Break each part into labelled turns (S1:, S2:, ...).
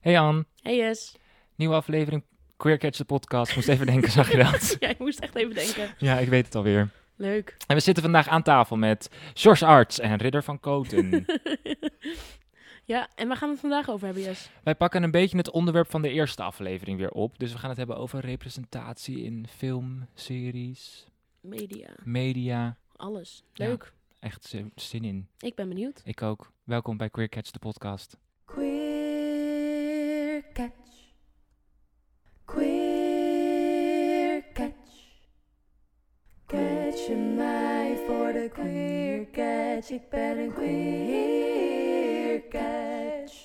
S1: Hey Ann,
S2: Hey Jess.
S1: nieuwe aflevering Queer Catch de podcast. Moest even denken, zag je dat?
S2: Ja, ik moest echt even denken.
S1: Ja, ik weet het alweer.
S2: Leuk.
S1: En we zitten vandaag aan tafel met George Arts en Ridder van Koten.
S2: ja, en waar gaan we het vandaag over hebben, Jess?
S1: Wij pakken een beetje het onderwerp van de eerste aflevering weer op. Dus we gaan het hebben over representatie in film, series,
S2: Media.
S1: media.
S2: Alles.
S1: Ja.
S2: Leuk.
S1: Echt zin- zin in.
S2: Ik ben benieuwd.
S1: Ik ook. Welkom bij Queer Catch de podcast.
S3: Queer catch. Queer catch. Catch je mij voor de queer catch. Ik ben een queer catch.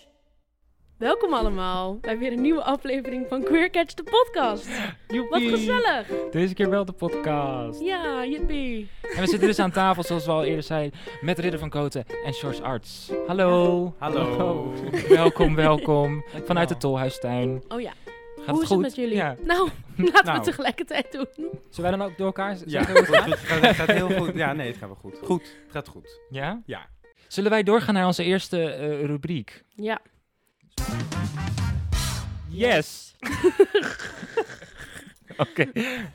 S2: Welkom allemaal bij weer een nieuwe aflevering van Queer Catch de podcast. Wat
S1: Joepie!
S2: gezellig.
S1: Deze keer wel de podcast.
S2: Ja, jippie.
S1: En we zitten dus aan tafel, zoals we al eerder zeiden, met Ridder van Koten en George Arts. Hallo.
S4: Hallo.
S1: welkom, welkom. Vanuit de Tolhuistuin.
S2: Oh ja,
S1: Gaat
S2: hoe
S1: het
S2: is
S1: goed?
S2: het met jullie?
S1: Ja.
S2: Nou, laten we
S4: Nou.
S2: het tegelijkertijd doen.
S1: Zullen wij dan ook door elkaar z-
S4: Ja,
S1: zeggen hoe
S4: het
S1: het gaat?
S4: gaat, het gaat heel goed. Ja, nee, het gaat wel goed. Goed, het gaat goed.
S1: Ja?
S4: Ja.
S1: Zullen wij doorgaan naar onze eerste eh, rubriek?
S2: Ja.
S1: Yes! Oké,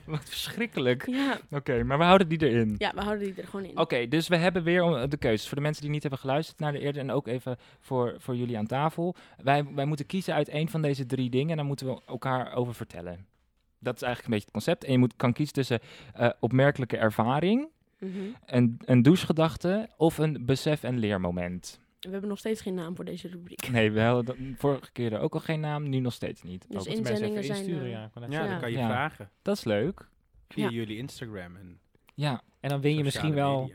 S1: wat verschrikkelijk.
S2: Ja.
S1: Oké, maar we houden die erin.
S2: ja, we houden die er gewoon in.
S1: Oké, dus we hebben weer om- de keuzes. Voor de mensen die niet hebben geluisterd naar de eerder en ook even voor, voor jullie aan tafel. Wij, wij moeten kiezen uit één van deze drie dingen en daar moeten we elkaar over vertellen. Dat is eigenlijk een beetje het concept. En je moet, kan kiezen tussen eh, opmerkelijke ervaring,
S2: Mhm.
S1: een, een douchegedachte of een besef- en leermoment.
S2: We hebben nog steeds geen naam voor deze rubriek.
S1: Nee, we hadden dat- vorige keer er ook al geen naam, nu nog steeds niet.
S2: Dus
S1: Ook.
S2: in- Inzendingen zijn, eh,
S5: ja. Ik wou net
S2: Ja.
S4: Ja, dan
S5: zeggen.
S4: kan je
S1: Ja.
S4: vragen
S1: Dat is leuk.
S4: via
S2: Ja.
S4: jullie Instagram en
S1: Ja, en dan win je misschien wel...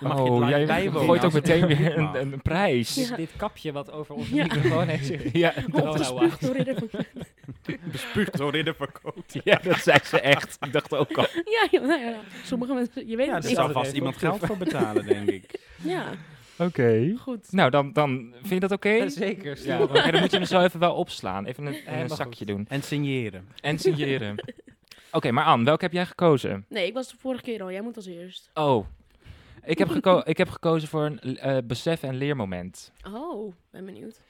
S4: mag je het
S1: oh,
S4: live
S1: jij
S4: bijwonen
S1: gooit ook
S4: als het
S1: meteen
S4: niet
S1: weer
S4: mag.
S1: een, een, een prijs.
S5: Dus
S2: Ja.
S5: Dit kapje wat over onze
S2: Ja.
S5: microfoon heeft zitten.
S1: Ja, dat-
S2: Opgespuugd door Ridder van
S4: Bespuugd door Ridder van Koot.
S1: ja, dat zei ze echt. Ik dacht ook al.
S2: Ja, ja, nou ja, sommige mensen, je weet
S4: Ja,
S2: het
S4: daar
S2: niet.
S5: is-
S4: zal vast iemand geld voor betalen, denk ik.
S2: Ja,
S1: Oké.
S2: goed.
S1: Nou, dan, dan vind je dat oké?
S5: Ja, Zeker.
S1: Ja,
S5: stuur
S1: oké,
S5: maar.
S1: dan moet je hem zo even wel opslaan. Even een,
S5: Helemaal
S1: een zakje
S5: goed.
S1: doen.
S4: En signeren.
S1: En signeren. Oké, maar Anne, welke heb jij gekozen?
S2: Nee, ik was de vorige keer al. Jij moet als eerst.
S1: Oh, ik heb, geko- ik heb gekozen voor een eh, besef- en leermoment.
S2: Oh, ben benieuwd.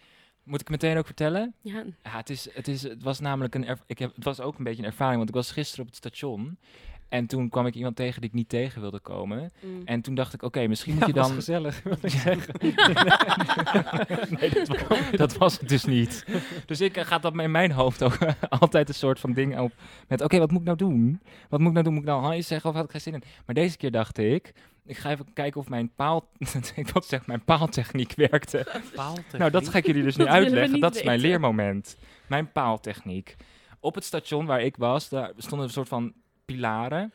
S1: Moet ik meteen ook vertellen?
S2: Ja,
S1: Ja, het, is, het, is, het was namelijk een. erv- Ik heb, het was ook een beetje een ervaring, want ik was gisteren op het station. En toen kwam ik iemand tegen die ik niet tegen wilde komen.
S2: mm.
S1: En toen dacht ik, oké, misschien moet
S5: Ja,
S1: je
S5: was
S1: dan.
S5: gezellig, wil ik zeggen.
S1: nee, dat, wa- dat was het dus niet. Dus ik eh, ga dat in mijn hoofd ook eh, altijd een soort van ding op. Met oké, wat moet ik nou doen? Wat moet ik nou doen? Moet ik nou hi zeggen of had ik geen zin in? Maar deze keer dacht ik, ik ga even kijken of mijn paal, ik wil zeggen, mijn paaltechniek werkte. Nou, dat ga ik jullie dus nu
S2: Dat willen we
S1: uitleggen.
S2: niet
S1: Dat is mijn
S2: weten.
S1: leermoment. Mijn paaltechniek. Op het station waar ik was, daar stonden een soort van pilaren.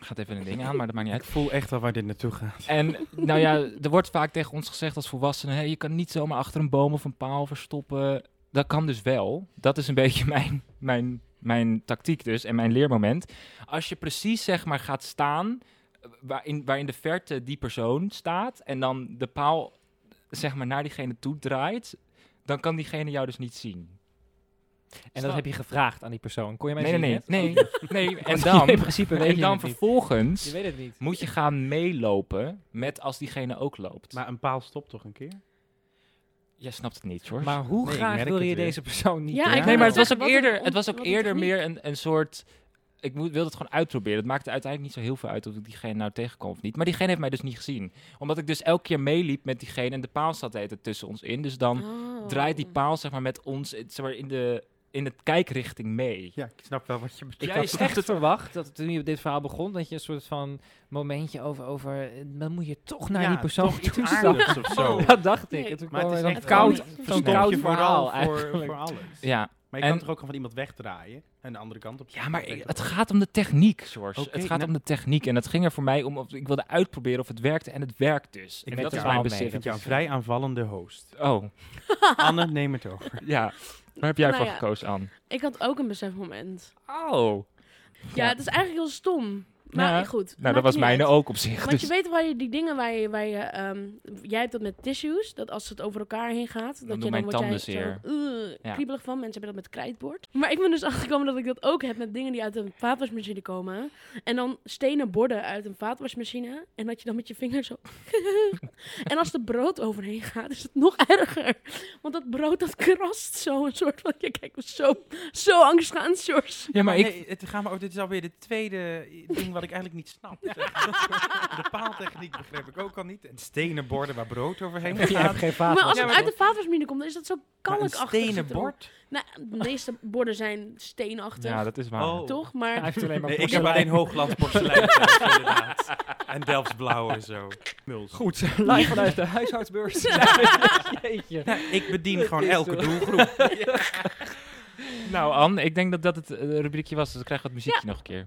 S1: Gaat even een ding aan, maar dat maakt niet uit.
S4: Ik voel echt al waar dit naartoe gaat.
S1: En nou ja, er wordt vaak tegen ons gezegd als volwassenen: hé, je kan niet zomaar achter een boom of een paal verstoppen. Dat kan dus wel. Dat is een beetje mijn, mijn, mijn tactiek dus en mijn leermoment. Als je precies zeg maar gaat staan eh, waarin, waarin de verte die persoon staat en dan de paal zeg maar naar diegene toe draait, dan kan diegene jou dus niet zien.
S5: En dat heb je gevraagd aan die persoon. Kon je mij
S1: Nee, nee,
S5: zien?
S1: nee.
S5: net?
S1: nee, Oh, nee. En
S5: Want
S1: dan,
S5: in principe weet
S1: en
S5: je
S1: dan
S5: het niet.
S1: vervolgens
S5: Je weet het niet.
S1: moet je gaan meelopen met als diegene ook loopt.
S4: Maar een paal stopt toch een keer?
S1: Jij snapt het niet, hoor.
S5: Maar hoe
S4: Nee, ik
S5: graag
S4: merk
S5: wil
S4: het
S5: je
S4: weer.
S5: deze persoon niet?
S2: Ja,
S5: leren?
S2: ik
S1: nee,
S2: wou
S1: maar
S2: net
S1: het was ook
S2: zeggen, wat een
S1: eerder, het was ook
S2: ont- wat een
S1: eerder
S2: techniek.
S1: meer een, een soort... Ik mo- wilde het gewoon uitproberen. Het maakte uiteindelijk niet zo heel veel uit of ik diegene nou tegenkwam of niet. Maar diegene heeft mij dus niet gezien. Omdat ik dus elke keer meeliep met diegene en de paal zat de hele tijd tussen ons in. Dus dan
S2: Oh.
S1: draait die paal zeg maar met ons eh, zeg maar, in, de, in de kijkrichting mee.
S4: Ja, ik snap wel wat je bedoelt.
S5: Ik
S1: snap
S5: had
S1: het.
S5: echt verwacht dat toen je dit verhaal begon, dat je een soort van momentje over, over eh, dan moet je toch naar
S4: Ja,
S5: die persoon
S4: toch iets
S5: toe
S4: aardigs
S5: stappen.
S4: of zo.
S5: Dat dacht ik.
S2: Nee,
S5: En toen
S4: maar
S5: kwam
S4: het
S5: er
S4: is
S5: zo'n
S4: echt
S5: koud,
S2: wel niet.
S5: zo'n
S1: Verstop
S5: koud
S4: je
S5: verhaal
S4: vooral voor,
S5: eigenlijk.
S4: voor alles.
S1: Ja,
S4: Maar je kan
S1: En-
S4: toch ook gewoon van iemand wegdraaien en de andere kant op?
S1: ja maar ik- het gaat om de techniek, George.
S4: Oké,
S1: het gaat
S4: nou-
S1: om de techniek. En het ging er voor mij om, of, ik wilde uitproberen of het werkte. En het werkt dus.
S4: Ik
S1: en
S4: ben
S1: dat
S4: het
S1: is
S4: er
S1: mijn
S5: wel mee.
S1: besef.
S4: vind jou een vrij aanvallende host.
S1: Oh,
S4: Anne, neem het over.
S1: ja. Waar heb jij
S2: Nou
S1: voor
S2: ja.
S1: gekozen, Anne?
S2: Ik had ook een besefmoment.
S1: Oh.
S2: Ja, het is eigenlijk heel stom. Maar
S1: Ja.
S2: goed.
S1: Nou,
S2: maakt
S1: dat was
S2: niet
S1: mijne
S2: uit.
S1: ook op zich.
S2: Want
S1: Dus.
S2: je weet waar je die dingen waar je, waar je ehm, jij hebt dat met tissues, dat als het over elkaar heen gaat, dat
S1: doen
S2: je dan
S1: mijn
S2: word jij
S1: tanden
S2: zo,
S1: zeer.
S2: "Ugh."
S6: Ja.
S2: kriebelig van. Mensen hebben dat met krijtbord. Maar ik ben dus achtergekomen dat ik dat ook heb met dingen die uit een vaatwasmachine komen. En dan stenen borden uit een vaatwasmachine. En dat je dan met je vinger zo... en als er brood overheen gaat, is het nog erger. Want dat brood, dat krast zo. Een soort van... Ja, kijk, zo, zo angstaanend, George.
S6: Ja, maar ik...
S4: nee, het gaan we, oh, dit is alweer de tweede ding wat ik eigenlijk niet snap. De paaltechniek begreep ik ook al niet. En stenen borden waar brood overheen gaat.
S1: Je hebt geen vaat.
S2: Maar als
S4: Ja,
S2: het
S4: maar
S2: uit de vaatwasmachine komt, dan is dat zo
S4: Maar een
S2: kalkachtig.
S4: stenen
S2: zit erop.
S4: bord?
S2: Nou, de meeste borden zijn steenachtig.
S6: Ja, dat is waar.
S4: Oh.
S2: Toch? Maar
S1: Hij heeft alleen maar
S4: Nee, ik heb
S1: porselein.
S4: alleen Hooglands porselein thuis, inderdaad. En Delfts blauw en zo. Muls.
S1: Goed, live vanuit de huishoudbeurs. Jeetje.
S4: Nou, ik bedien
S1: Dat
S4: gewoon
S1: is
S4: elke
S1: toch-
S4: doelgroep.
S6: Nou, Anne, ik denk dat dat het eh, rubriekje was. Dus ik krijg wat muziekje nog een keer.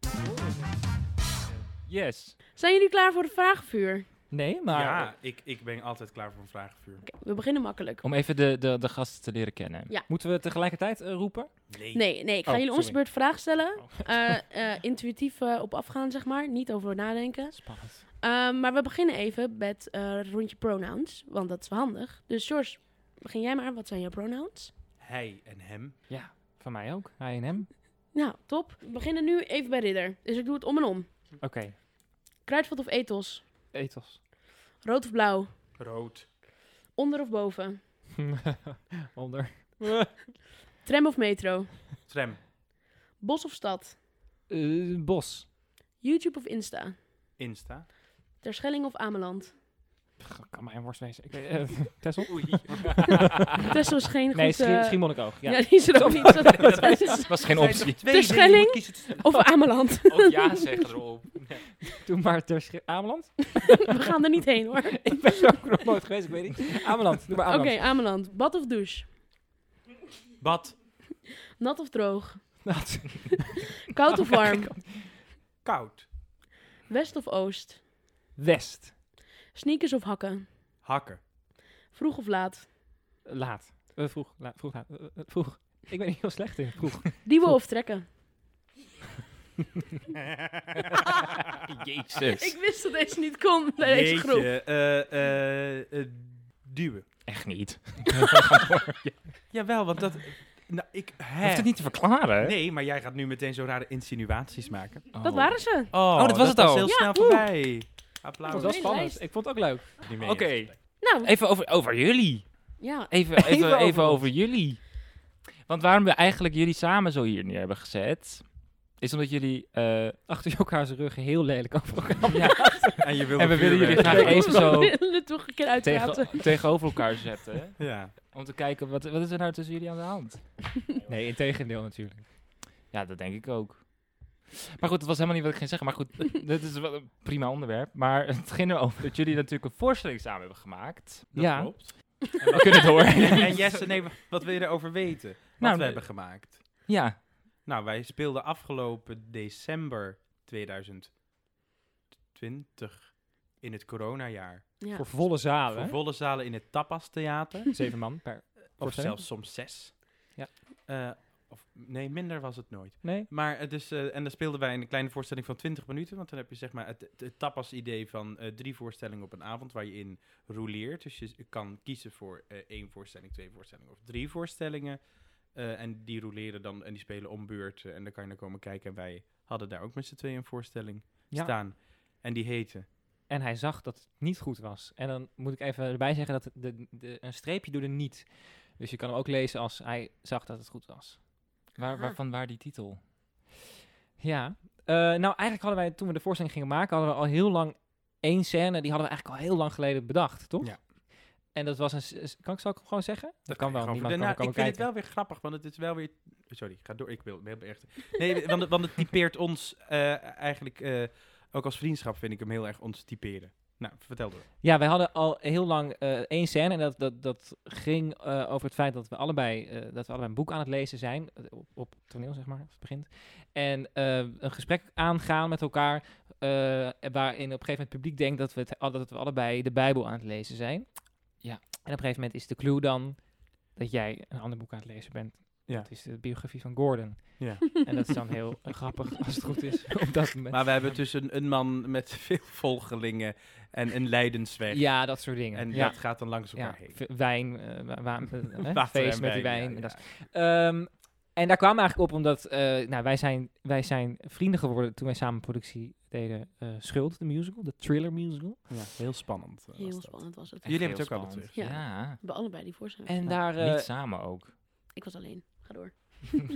S6: Yes.
S2: zijn jullie klaar voor het vraagvuur?
S1: Nee, maar
S4: ja, ik, ik ben altijd klaar voor een vragenvuur.
S2: Oké, we beginnen makkelijk.
S1: Oh,
S6: Om even de, de, de gasten te leren kennen.
S2: Ja.
S1: moeten we tegelijkertijd eh, roepen?
S4: Nee.
S2: Nee, nee, ik ga
S1: Oh,
S2: jullie ons de
S1: sorry.
S2: beurt vraag stellen. Eh, eh, intuïtief eh, op afgaan, zeg maar. Niet over nadenken.
S1: Spannend.
S2: Ehm, maar we beginnen even met eh, rondje pronouns, want dat is wel handig. Dus George, begin jij maar. Wat zijn jouw pronouns?
S4: Hij en hem.
S1: Ja, van mij ook. Hij en hem.
S2: Nou, top. We beginnen nu even bij Ridder. Dus ik doe het om en om.
S1: Oké,
S2: Kruidvat of ethos?
S1: ethos.
S2: Rood of blauw?
S4: Rood.
S2: Onder of boven?
S1: Onder.
S2: Tram of metro?
S4: Tram.
S2: Bos of stad?
S1: Eh, bos.
S2: YouTube of Insta?
S4: Insta.
S2: Terschelling of Ameland?
S1: Pff, kan mij een worst wezen. Ik weet, eh, Tessel?
S2: Tessel is geen
S1: nee,
S2: goed...
S1: Schie-
S2: eh,
S1: Schiermonnikoog. Ja.
S2: ja, die is er ook niet. Dat is-
S6: was geen
S4: Zijn
S6: optie.
S4: er twee dingen, je
S2: Terschelling?
S4: moet kiezen tussen-
S2: Of Ameland.
S6: Ook ja zeggen erop.
S1: Toen maar ter Schi- Ameland.
S2: We gaan er niet heen hoor. Oké,
S1: ik ben er ook nog nooit geweest, ik weet niet. Ameland, doe maar Ameland.
S2: Ameland. Bad of douche?
S4: Bad.
S2: Nat of droog?
S1: Dat-
S2: Koud of warm?
S4: Koud.
S2: West of oost?
S1: West.
S2: Sneakers of hakken?
S4: Hakken.
S2: Vroeg of laat?
S1: Laat. Eh, vroeg. Laat. Vroeg. Laat. Eh, eh, vroeg. Ik ben hier heel slecht in. Vroeg.
S2: Duwen of trekken?
S6: Jezus.
S2: Ah. Ik wist dat deze niet kon bij deze
S4: Jeetje,
S2: groep.
S4: eh, eh, eh, duwen.
S6: Echt niet.
S4: Jawel, want dat... Nou, ik...
S6: Je hoeft
S4: Hè.
S6: het niet te verklaren.
S4: Nee, maar jij gaat nu meteen zo rare insinuaties maken.
S2: Dat waren ze.
S6: Oh, dat was het al.
S4: heel
S2: Ja,
S4: snel
S2: woe.
S4: voorbij.
S1: Ah, Dat
S4: Applaus.
S1: was wel
S2: Mijn
S1: spannend.
S2: lijst.
S1: Ik vond het ook leuk.
S6: Oké.
S2: Nou,
S6: Even over, over jullie.
S2: ja.
S6: Even, even,
S1: Even over
S6: even, over,
S1: ons.
S6: jullie. Want waarom we eigenlijk jullie samen zo hier neer hebben gezet... is omdat jullie... eh,
S1: Achter elkaar zijn rug heel lelijk over elkaar.
S4: En, je wilde
S6: en we willen
S4: vuurwerk.
S6: jullie graag even zo
S2: We willen het toch een keer uitpraten.
S6: tegen, tegenover elkaar zetten.
S4: Ja.
S6: Om te kijken, wat, wat is er nou tussen jullie aan de hand?
S1: Nee, in tegendeel natuurlijk.
S6: Ja, dat denk ik ook. Maar goed, dat was helemaal niet wat ik ging zeggen. Maar goed, dit is wel een prima onderwerp. Maar het ging erover dat jullie natuurlijk een voorstelling samen hebben gemaakt.
S4: Dat
S1: Ja.
S4: klopt.
S6: We kunnen door.
S4: En, en Jesse, nee, wat wil je erover weten? Wat
S6: Nou,
S4: we
S6: nee.
S4: hebben gemaakt.
S6: Ja,
S4: Nou, wij speelden afgelopen december 2020 in het coronajaar.
S2: Ja.
S1: Voor volle zalen.
S4: Voor
S1: Nou, hè?
S4: volle zalen in het Tapas Theater.
S1: Zeven man per.
S4: Of
S1: Voorstelling?
S4: zelfs soms zes.
S1: Ja.
S4: Eh, of, nee, minder was het nooit.
S1: Nee?
S4: Maar eh, dus, eh, en dan speelden wij een kleine voorstelling van 20 minuten. Want dan heb je zeg maar het, het tapas-idee van eh, drie voorstellingen op een avond waar je in rouleert. Dus je s- kan kiezen voor eh, één voorstelling, twee voorstellingen of drie voorstellingen. Eh, en die rouleren dan en die spelen om beurt. eh, en dan kan je naar komen kijken. En wij hadden daar ook met z'n tweeën een voorstelling
S1: Ja.
S4: staan. En die heette.
S1: En hij zag dat het niet goed was. En dan moet ik even erbij zeggen dat de, de, een streepje doet er niet. Dus je kan hem ook lezen als hij zag dat het goed was.
S6: waar,
S2: Ah.
S6: waarvan waar die titel?
S1: Ja. Eh, nou, eigenlijk hadden wij toen we de voorstelling gingen maken, hadden we al heel lang één scène. Die hadden we eigenlijk al heel lang geleden bedacht, toch?
S4: Ja.
S1: En dat was een. s- s- Kan ik zal ik gewoon zeggen? Dat
S4: kan
S1: kan wel.
S4: gewoon
S1: Niemand
S4: verder-
S1: kan komen
S4: Nou, ik vind het
S1: kijken.
S4: wel weer grappig, want het is wel weer... Sorry, ga door. Ik wil ik wil echt... Nee, want, het- want het typeert ons eh, eigenlijk... eh, ook als vriendschap vind ik hem heel erg ons typeren. Nou, vertel door.
S1: Ja, wij hadden al heel lang eh, één scène. En dat, dat, dat ging eh, over het feit dat we, allebei, eh, dat we allebei een boek aan het lezen zijn. eh, Op, op toneel, zeg maar, als het begint. En eh, een gesprek aangaan met elkaar. eh, waarin op een gegeven moment het publiek denkt dat we, het, al- dat we allebei de Bijbel aan het lezen zijn.
S6: Ja.
S1: En op een gegeven moment is de clue dan dat jij een ander boek aan het lezen bent.
S4: Ja.
S1: Dat is de biografie van Gordon.
S4: Ja.
S1: En dat is dan heel eh, grappig als het goed is op dat moment.
S4: Maar we hebben dus een, een man met veel volgelingen en een leidensweg.
S1: ja, dat soort dingen.
S4: En
S1: ja.
S4: dat gaat dan langs elkaar
S1: ja,
S4: heen.
S1: v- wijn, eh, wa- wa- eh, hè,
S4: Water
S1: feest
S4: en
S1: met die
S4: wijn,
S1: wijn.
S4: ja,
S1: en, dat
S4: ja.
S1: is- Ehm, en daar kwamen we eigenlijk op omdat eh, nou, wij, zijn, wij zijn vrienden geworden toen wij samen productie deden. eh, Schuld, de musical, de thriller musical.
S4: Ja, heel spannend. eh, was
S2: Heel
S4: dat.
S2: spannend was het.
S4: Jullie hebben het ook alle
S6: altijd
S2: twee gezien.
S6: Ja. Nou,
S2: We allebei die voorstelling.
S1: En daar... eh,
S6: Niet samen ook.
S2: Ik was alleen. Ga door.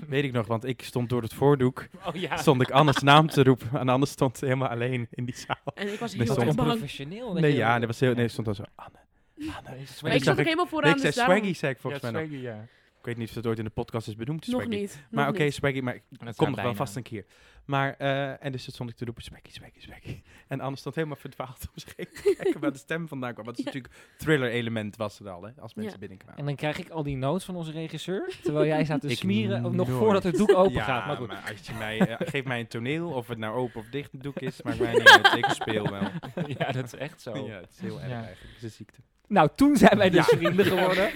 S4: Weet ik nog, want ik stond door het voordoek,
S6: Oh ja.
S4: stond ik Anne's naam te roepen. En Anne stond helemaal alleen in die zaal.
S2: En ik was
S4: Best
S2: heel
S1: wat
S4: wel
S2: erg bang.
S1: onprofessioneel. Oh, dat
S4: Nee,
S1: je-
S4: ja, dat was heel, nee, stond dan zo, Anne.
S1: Nee, is
S2: Maar ik
S4: zag
S2: zat
S1: zwaar.
S2: ook
S4: ik-
S2: helemaal
S4: Nee,
S2: vooraan.
S4: ik zei
S2: dus daarom-
S4: Swaggy, zei ik volgens
S6: ja,
S4: mij nog.
S6: Swaggy, ja.
S4: Ik weet niet of dat ooit in de podcast is benoemd,
S2: Nog
S4: Swaggy.
S2: niet.
S4: Maar
S2: nog
S4: oké,
S2: niet.
S4: Swaggy, maar
S6: Dat
S4: Komt
S6: kan
S4: nog wel
S6: bijna.
S4: vast een keer. Maar, eh, en dus dat stond ik te roepen, spekkie, spekkie, spekkie. En Anne stond helemaal verdwaald om zich heen te kijken waar de stem vandaan kwam. Want het is natuurlijk thriller-element was er al, hè, als mensen
S2: Ja.
S4: binnenkwamen.
S1: En dan krijg ik al die notes van onze regisseur. Terwijl jij staat te
S4: Ik
S1: smieren. of Nog
S4: nooit.
S1: voordat het doek open gaat. Maar goed.
S4: als je mij, eh, geef mij een toneel, of het nou open of dicht een doek is, maakt mij niet uit. Ik speel wel.
S6: ja, dat is echt zo.
S4: Ja, het is heel erg
S6: Ja.
S4: eigenlijk. Het is een ziekte.
S1: Nou, toen zijn wij dus
S4: Ja.
S1: vrienden geworden.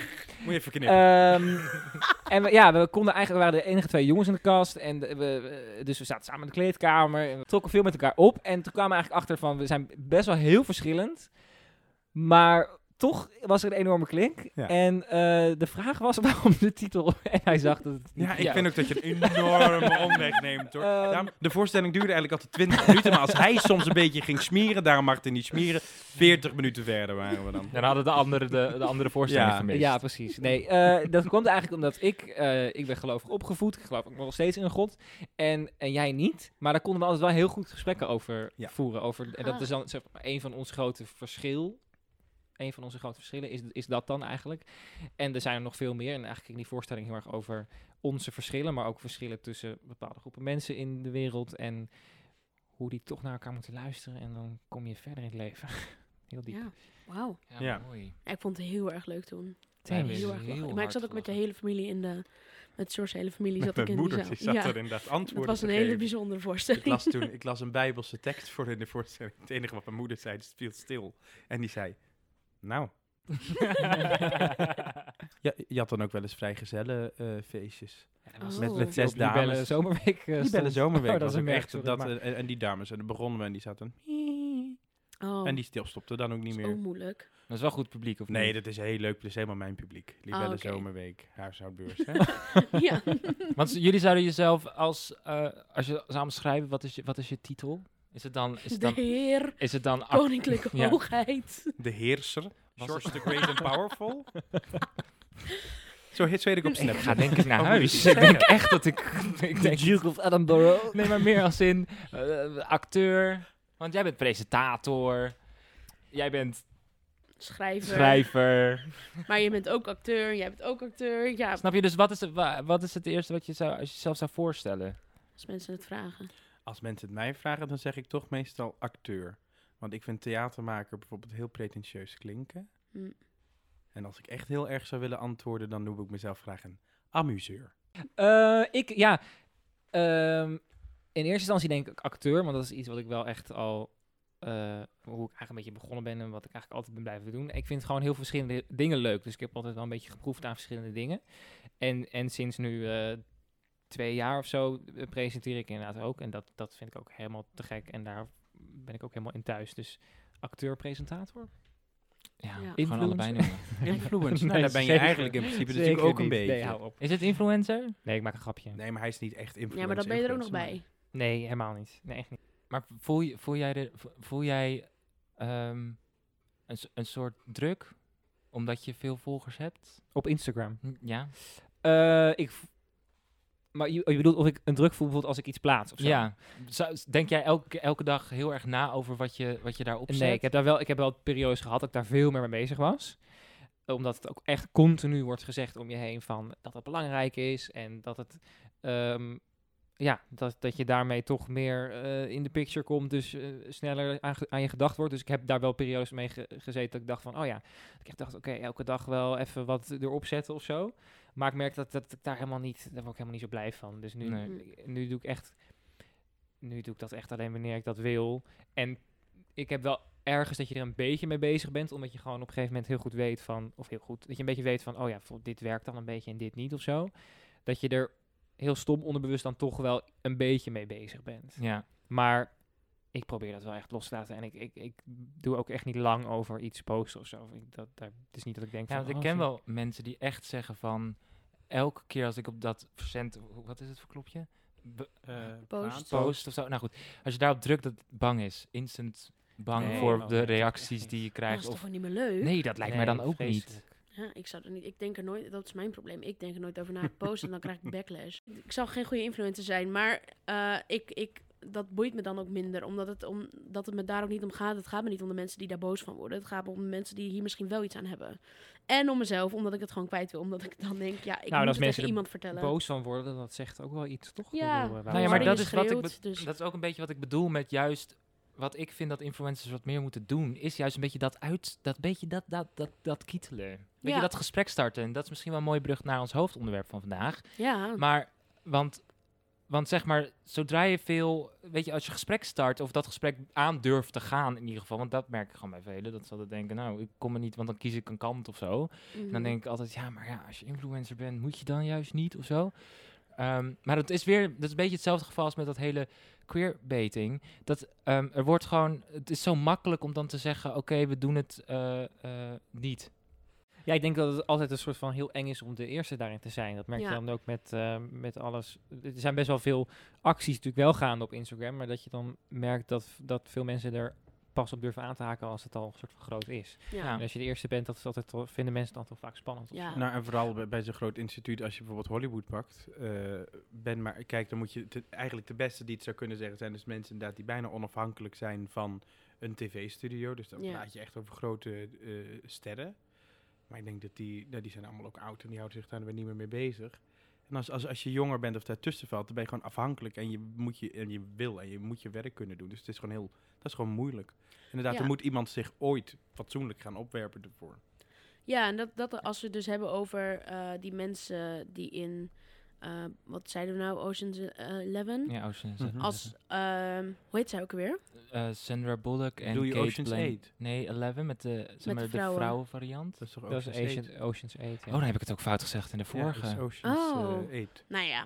S4: Moet je even knippen.
S1: Ehm,
S4: Eh,
S1: en we, ja, we konden eigenlijk, we waren de enige twee jongens in de kast. En de- we, eh, dus we zaten samen in de kleedkamer. En we trokken veel met elkaar op. En toen kwamen we eigenlijk achter van, we zijn best wel heel verschillend. Maar toch was er een enorme klink.
S4: Ja.
S1: En eh, de vraag was waarom de titel. En hij zag dat het niet
S4: ja, ik
S1: jou-
S4: vind ook dat je een enorme omweg neemt, hoor.
S1: Ehm.
S4: Daarom- de voorstelling duurde eigenlijk altijd 20 minuten, maar als hij soms een beetje ging smeren, daarom mag hij niet smeren, 40 minuten verder waren we dan.
S6: Dan hadden de andere de, de andere voorstelling
S4: Ja.
S6: gemist.
S1: Ja, precies. Nee, eh, dat komt eigenlijk omdat ik, eh, ik ben gelovig opgevoed. Ik geloof ook nog steeds in God. En, en jij niet. Maar daar konden we altijd wel heel goed gesprekken over
S4: Ja.
S1: voeren. Over, en dat
S2: Ah.
S1: is dan zeg maar, een van ons grote verschil. Een van onze grote verschillen is, is dat dan eigenlijk. En er zijn er nog veel meer. En eigenlijk ging die voorstelling heel erg over onze verschillen. Maar ook verschillen tussen bepaalde groepen mensen in de wereld. En hoe die toch naar elkaar moeten luisteren. En dan kom je verder in het leven. Heel diep.
S2: Ja, wauw.
S6: Ja,
S4: Ja.
S6: mooi.
S2: Ja, ik vond het heel erg leuk toen.
S6: Wij hebben
S1: Thanks.
S2: Heel erg
S6: heel
S2: leuk. Maar ik zat
S6: hard
S2: ook met de
S6: gelachen.
S2: hele familie in de... Met George's hele familie zat
S4: Mijn
S2: ik in
S4: moeder,
S2: die zaal.
S4: die zat
S2: ja,
S4: er inderdaad
S2: dat
S4: antwoorden
S2: was
S4: te
S2: een hele
S4: geven.
S2: bijzondere
S4: Ik
S2: voorstelling.
S4: las toen ik las een bijbelse tekst voor in de voorstelling. Het enige wat mijn moeder zei, het viel stil. En die zei, nou. ja, je had dan ook wel eens vrijgezellen eh, feestjes.
S2: was
S4: Met,
S2: Oh.
S4: met zes
S1: Die bellen
S4: dames.
S1: zomerweek. eh,
S4: Die bellen
S1: stond.
S4: zomerweek.
S1: Oh,
S4: dat
S1: dat
S4: was
S1: is een
S4: ook
S1: merk,
S4: echt,
S1: sorry,
S4: dat,
S1: maar-
S4: eh, en, en die dames. En dan begonnen we en die zaten...
S2: Oh,
S4: En die stilstopte dan ook niet
S2: dat is
S4: meer.
S2: ook moeilijk.
S6: Dat is wel goed publiek, of
S4: Nee,
S6: niet?
S4: dat is heel leuk. Dat is helemaal mijn publiek. Libelle
S2: Ah, oké.
S4: Zomerweek, huishoudbeurs. Hè?
S2: ja.
S6: Want jullie zouden jezelf als... eh, als je samen schrijven, wat is je, wat is je titel? Is het dan... Is het
S2: De
S6: dan,
S2: heer,
S6: is het
S2: Oh,
S6: dan act-
S2: koninklijke
S6: Ja.
S2: hoogheid.
S4: De heerser.
S6: Was
S4: George the Great and Powerful. Zo heet ik op Snap.
S6: Ik ga denk ik naar
S4: Oh, moet
S6: huis.
S4: ik
S6: Ik denk echt dat ik... ik
S1: De
S6: denk,
S1: Duke of Edinburgh.
S6: nee, maar meer als in eh, acteur. Want jij bent presentator. Jij bent
S2: Schrijver.
S6: schrijver.
S2: Maar je bent ook acteur, jij bent ook acteur. Ja,
S6: Snap je? Dus wat is, het, wa- wat is het eerste wat je zou, als je jezelf zou voorstellen?
S2: als mensen het vragen.
S4: Als mensen het mij vragen, dan zeg ik toch meestal acteur. Want ik vind theatermaker bijvoorbeeld heel pretentieus klinken.
S2: Hm.
S4: En als ik echt heel erg zou willen antwoorden, dan noem ik mezelf graag een amuseur.
S1: Eh, ik, ja. ehm, in eerste instantie denk ik acteur, want dat is iets wat ik wel echt al. eh, hoe ik eigenlijk een beetje begonnen ben en wat ik eigenlijk altijd ben blijven doen. Ik vind gewoon heel veel verschillende dingen leuk. Dus ik heb altijd wel een beetje geproefd aan verschillende dingen. En, en sinds nu eh, twee jaar of zo eh, presenteer ik inderdaad ook. En dat, dat vind ik ook helemaal te gek. En daar ben ik ook helemaal in thuis. Dus acteur, presentator.
S6: Ja, gewoon
S1: Influencer.
S6: allebei noemen.
S4: Influencer. Nou,
S1: Nee,
S4: daar ben je
S1: zeker-
S4: eigenlijk in principe natuurlijk
S1: Zeker
S4: ook een
S1: niet.
S4: beetje.
S1: Nee, hou op.
S6: Is het influencer?
S1: Nee, ik maak een grapje. Nee,
S4: Nee, maar hij is niet echt influencer.
S2: Ja, maar dat ben je er ook nog
S4: influencer,
S2: bij.
S1: helemaal niet. Nee, echt niet.
S6: Maar voel, je- voel jij, de, vo- voel jij ehm, een, s- een soort druk? Omdat je veel volgers hebt?
S1: Op Instagram.
S6: Hm, Ja.
S1: Eh, ik. v- Maar je, oh, je bedoelt of ik een druk voel bijvoorbeeld als ik iets plaats of zo?
S6: ja. Zou- denk jij elke, elke dag heel erg na over wat je, wat je daarop zet?
S1: Nee, ik heb daar wel, ik heb wel periodes gehad dat ik daar veel meer mee bezig was. Omdat het ook echt continu wordt gezegd om je heen van dat het belangrijk is en dat het. ehm, ja, dat, dat je daarmee toch meer eh, in de picture komt, dus eh, sneller aan, ge- aan je gedacht wordt. Dus ik heb daar wel periodes mee ge- gezeten dat ik dacht van, oh ja, dat ik echt dacht, oké, elke dag wel even wat erop zetten of zo. Maar ik merk dat, dat ik daar helemaal niet, daar word ik helemaal niet zo blij van. Dus nu,
S6: Nee.
S1: nu doe ik echt, nu doe ik dat echt alleen wanneer ik dat wil. En ik heb wel ergens dat je er een beetje mee bezig bent, omdat je gewoon op een gegeven moment heel goed weet van, of heel goed, dat je een beetje weet van, oh ja, bijvoorbeeld dit werkt dan een beetje en dit niet of zo. dat je er heel stom onderbewust dan toch wel een beetje mee bezig bent.
S6: Ja.
S1: Maar ik probeer dat wel echt los te laten. En ik, ik, ik doe ook echt niet lang over iets posten of zo. Ik, dat, daar, het is niet dat ik denk
S6: Ja,
S1: van...
S6: want ik
S1: oh,
S6: ken
S1: shit.
S6: wel mensen die echt zeggen van... Elke keer als ik op dat cent... Wat is het voor klopje? Be-
S4: Eh,
S2: Post.
S4: plaat.
S6: Post of zo. Nou goed, als je daarop drukt, dat het bang is. Instant bang
S1: Nee,
S6: voor
S1: oh,
S6: de
S1: nee, dat is
S6: reacties
S1: echt
S6: die je
S2: Dat is
S6: krijgt.
S2: toch
S6: Of,
S2: gewoon niet meer leuk?
S6: nee, dat lijkt mij
S1: Nee,
S6: dan ook niet.
S1: vreselijk.
S2: Ja, ik zou er niet. Ik denk er nooit. Dat is mijn probleem. Ik denk er nooit over na. Ik post en dan krijg ik backlash. Ik zou geen goede influencer zijn, maar eh, ik, ik, dat boeit me dan ook minder, omdat het, omdat het me daar ook niet om gaat. Het gaat me niet om de mensen die daar boos van worden. Het gaat me om de mensen die hier misschien wel iets aan hebben. En om mezelf, omdat ik het gewoon kwijt wil, omdat ik dan denk, ja, ik
S1: Nou, en als
S2: moet het
S1: mensen
S2: tegen
S1: er
S2: iemand vertellen.
S1: Boos van worden, dat zegt ook wel iets, toch? Ik
S2: Ja.
S1: bedoel, eh,
S6: Nou ja,
S1: waarom
S6: maar
S1: zou
S6: dat
S1: je-
S6: is, wat ik
S2: schreeuwt,
S6: be-
S2: dus-
S6: dat is ook een beetje wat ik bedoel met juist... Wat ik vind dat influencers wat meer moeten doen... is juist een beetje dat uit... dat beetje dat, dat, dat, dat kietelen. Weet
S2: Ja.
S6: je, dat gesprek starten. En dat is misschien wel een mooie brug naar ons hoofdonderwerp van vandaag.
S2: Ja.
S6: Maar, want, want zeg maar, zodra je veel, weet je, als je gesprek start of dat gesprek aan durft te gaan in ieder geval, want dat merk ik gewoon bij velen, dat ze altijd denken, nou, ik kom er niet, want dan kies ik een kant of zo. En
S2: Mhm.
S6: dan denk ik altijd, ja, maar ja, als je influencer bent, moet je dan juist niet of zo. Ehm, maar dat is weer, dat is een beetje hetzelfde geval als met dat hele queerbaiting. Dat ehm, er wordt gewoon, het is zo makkelijk om dan te zeggen, oké, we doen het eh, eh, niet.
S1: Ja, ik denk dat het altijd een soort van heel eng is om de eerste daarin te zijn. Dat merk
S2: Ja.
S1: je dan ook met, eh, met alles. Er zijn best wel veel acties natuurlijk wel gaande op Instagram. Maar dat je dan merkt dat, dat veel mensen er pas op durven aan te haken als het al een soort van groot is.
S2: Ja.
S6: Ja.
S1: En als je de eerste bent, dat is altijd, toch- vinden mensen dan toch vaak spannend. of
S2: Ja.
S1: zo.
S4: Nou, en vooral bij, bij zo'n groot instituut, als je bijvoorbeeld Hollywood pakt, eh, ben maar, kijk, dan moet je te- eigenlijk de beste die het zou kunnen zeggen zijn dus mensen inderdaad die bijna onafhankelijk zijn van een tv-studio. Dus dan
S2: Ja.
S4: praat je echt over grote eh, sterren. Maar ik denk dat die, nou, die zijn allemaal ook oud en die houden zich daar weer niet meer mee bezig. En als, als, als je jonger bent of daartussen valt, dan ben je gewoon afhankelijk en je, moet je, en je wil en je moet je werk kunnen doen. Dus het is gewoon heel, dat is gewoon moeilijk. Inderdaad,
S2: Ja.
S4: er moet iemand zich ooit fatsoenlijk gaan opwerpen ervoor.
S2: Ja, en dat, dat als we het dus hebben over eh, die mensen die in, eh, wat zeiden we nou, Ocean's Eleven?
S6: Ja, Ocean's
S4: Mhm.
S2: Als, ehm, hoe heet zij ook weer?
S6: eh, Sandra Bullock en
S4: Doe je
S6: Kate
S4: Ocean's
S6: Blan-
S4: Eight?
S6: Nee, 11 met de, zeg
S2: de
S6: maar, de,
S2: vrouwen.
S6: vrouwenvariant.
S4: Dat is toch ook
S1: Dat is Asian- Ocean's 8.
S6: Oh, dan heb ik het ook fout gezegd in de vorige.
S4: Ja, dus
S2: Oh.
S4: Ocean's eh, Eight.
S2: Nou ja,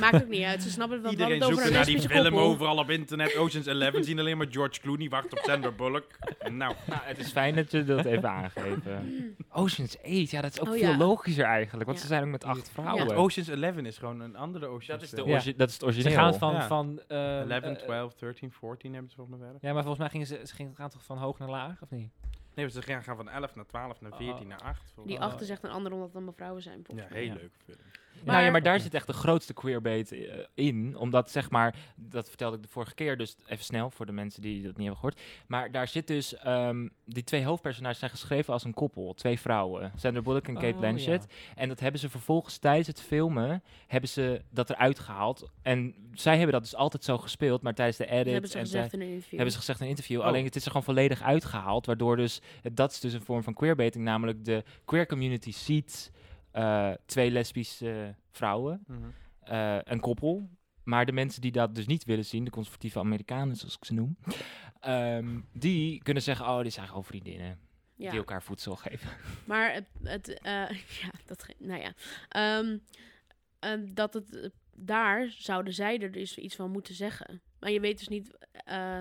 S2: maakt ook niet uit. Ze snappen het wel.
S4: Iedereen
S2: we hadden het
S4: zoekt
S2: over
S4: naar
S2: een
S4: die
S2: lesbische
S4: film
S2: koppel.
S4: overal op internet. Ocean's 11 zien alleen maar George Clooney. Wacht op Sandra Bullock. Nou,
S6: nou, het is fijn dat je dat even aangegeven. Ocean's 8, ja, dat is ook
S2: Oh,
S6: veel
S2: ja.
S6: logischer eigenlijk. Want
S2: Ja.
S6: ze zijn ook met acht vrouwen.
S2: Oh,
S4: want Ocean's 11 is gewoon een andere Ocean's.
S6: dat, is de
S1: Ja.
S6: orgi- dat is het
S1: Ze
S6: origineel.
S1: gaan van...
S4: Ja.
S1: van eh,
S4: 11,
S1: eh,
S4: 12, 13, 14 hebben ze volgens mij wel.
S1: Ja, maar volgens mij gingen ze, ze gingen- gaan toch van hoog naar laag, of niet?
S4: Nee, maar ze gaan gaan van 11 naar 12 naar 14
S1: Oh.
S4: naar 8. volgens
S2: Die
S4: mij.
S2: achter zegt een ander omdat het allemaal vrouwen zijn.
S4: Ja,
S2: volgens mij.
S4: heel
S1: Ja.
S4: leuk film.
S6: Nou ja, maar
S2: Maar-
S6: daar zit echt de grootste queerbait eh, in. Omdat zeg maar, dat vertelde ik de vorige keer, dus even snel voor de mensen die dat niet hebben gehoord. Maar daar zit dus, ehm, die twee hoofdpersonages zijn geschreven als een koppel. Twee vrouwen, Sandra Bullock en Kate
S1: Oh,
S6: Blanchett. En dat hebben ze vervolgens tijdens het filmen, hebben ze dat eruit gehaald. En zij hebben dat dus altijd zo gespeeld, maar tijdens de edit...
S2: Dat hebben ze
S6: en
S2: gezegd in een interview.
S6: Hebben ze gezegd in een interview.
S4: Oh.
S6: Alleen het is er gewoon volledig uitgehaald. Waardoor dus, dat is dus een vorm van queerbaiting. Namelijk de queer community ziet eh, twee lesbische vrouwen.
S4: Mhm.
S6: eh, een koppel. Maar de mensen die dat dus niet willen zien, de conservatieve Amerikanen zoals ik ze noem. ehm, die kunnen zeggen, oh dit zijn gewoon vriendinnen.
S2: ja.
S6: Die elkaar voedsel geven.
S2: Maar het, het eh, ja, dat, ge- nou ja. Ehm, ehm, dat het, eh, daar zouden zij er dus iets van moeten zeggen. Maar je weet dus niet, eh,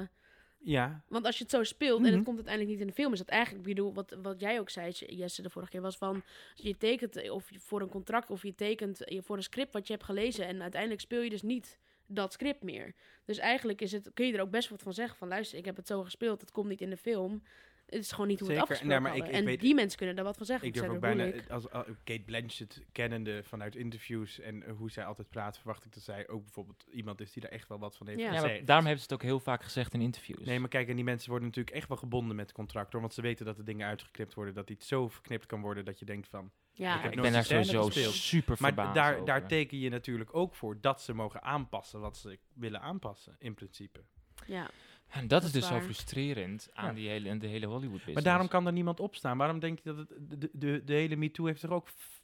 S4: Ja.
S2: want als je het zo speelt en
S4: Mhm.
S2: het komt uiteindelijk niet in de film, is dat eigenlijk, ik bedoel, wat, wat jij ook zei, Jesse, de vorige keer, was van, je tekent eh, of je voor een contract of je tekent eh, voor een script wat je hebt gelezen en uiteindelijk speel je dus niet dat script meer. Dus eigenlijk is het, kun je er ook best wat van zeggen, van luister, ik heb het zo gespeeld, het komt niet in de film. Het is gewoon niet hoe we het
S4: Zeker.
S2: afgesproken
S4: Nee, maar ik-
S2: hadden.
S4: ik
S2: en
S4: weet-
S2: die mensen kunnen daar wat van zeggen.
S4: Ik
S2: want
S4: durf ook
S2: zij doen
S4: bijna,
S2: moeilijk.
S4: als, als Kate Blanchett kennende vanuit interviews en eh, hoe zij altijd praat, verwacht ik dat zij ook bijvoorbeeld iemand is die daar echt wel wat van heeft
S2: Ja. Ja,
S6: Ja,
S2: maar
S6: maar
S4: gezegd.
S6: daarom hebben ze het ook heel vaak gezegd in interviews.
S4: Nee, maar kijk, en die mensen worden natuurlijk echt wel gebonden met contract, hoor. Want ze weten dat de dingen uitgeknipt worden, dat iets zo verknipt kan worden dat je denkt van...
S2: Ja,
S4: Ik
S6: ik
S4: heb
S6: ben
S4: nooit
S6: daar
S4: die scène
S6: sowieso
S4: gespeeld.
S6: super
S4: Maar
S6: verbaasd
S4: daar,
S6: over.
S4: daar teken je natuurlijk ook voor dat ze mogen aanpassen wat ze willen aanpassen, in principe.
S2: ja.
S6: En dat,
S2: Dat
S6: is
S2: is
S6: dus zo
S2: waar.
S6: frustrerend aan
S4: Ja.
S6: die hele, en de hele Hollywood business.
S4: Maar daarom kan er niemand opstaan. Waarom denk je dat het, de, de, de hele MeToo heeft er ook f-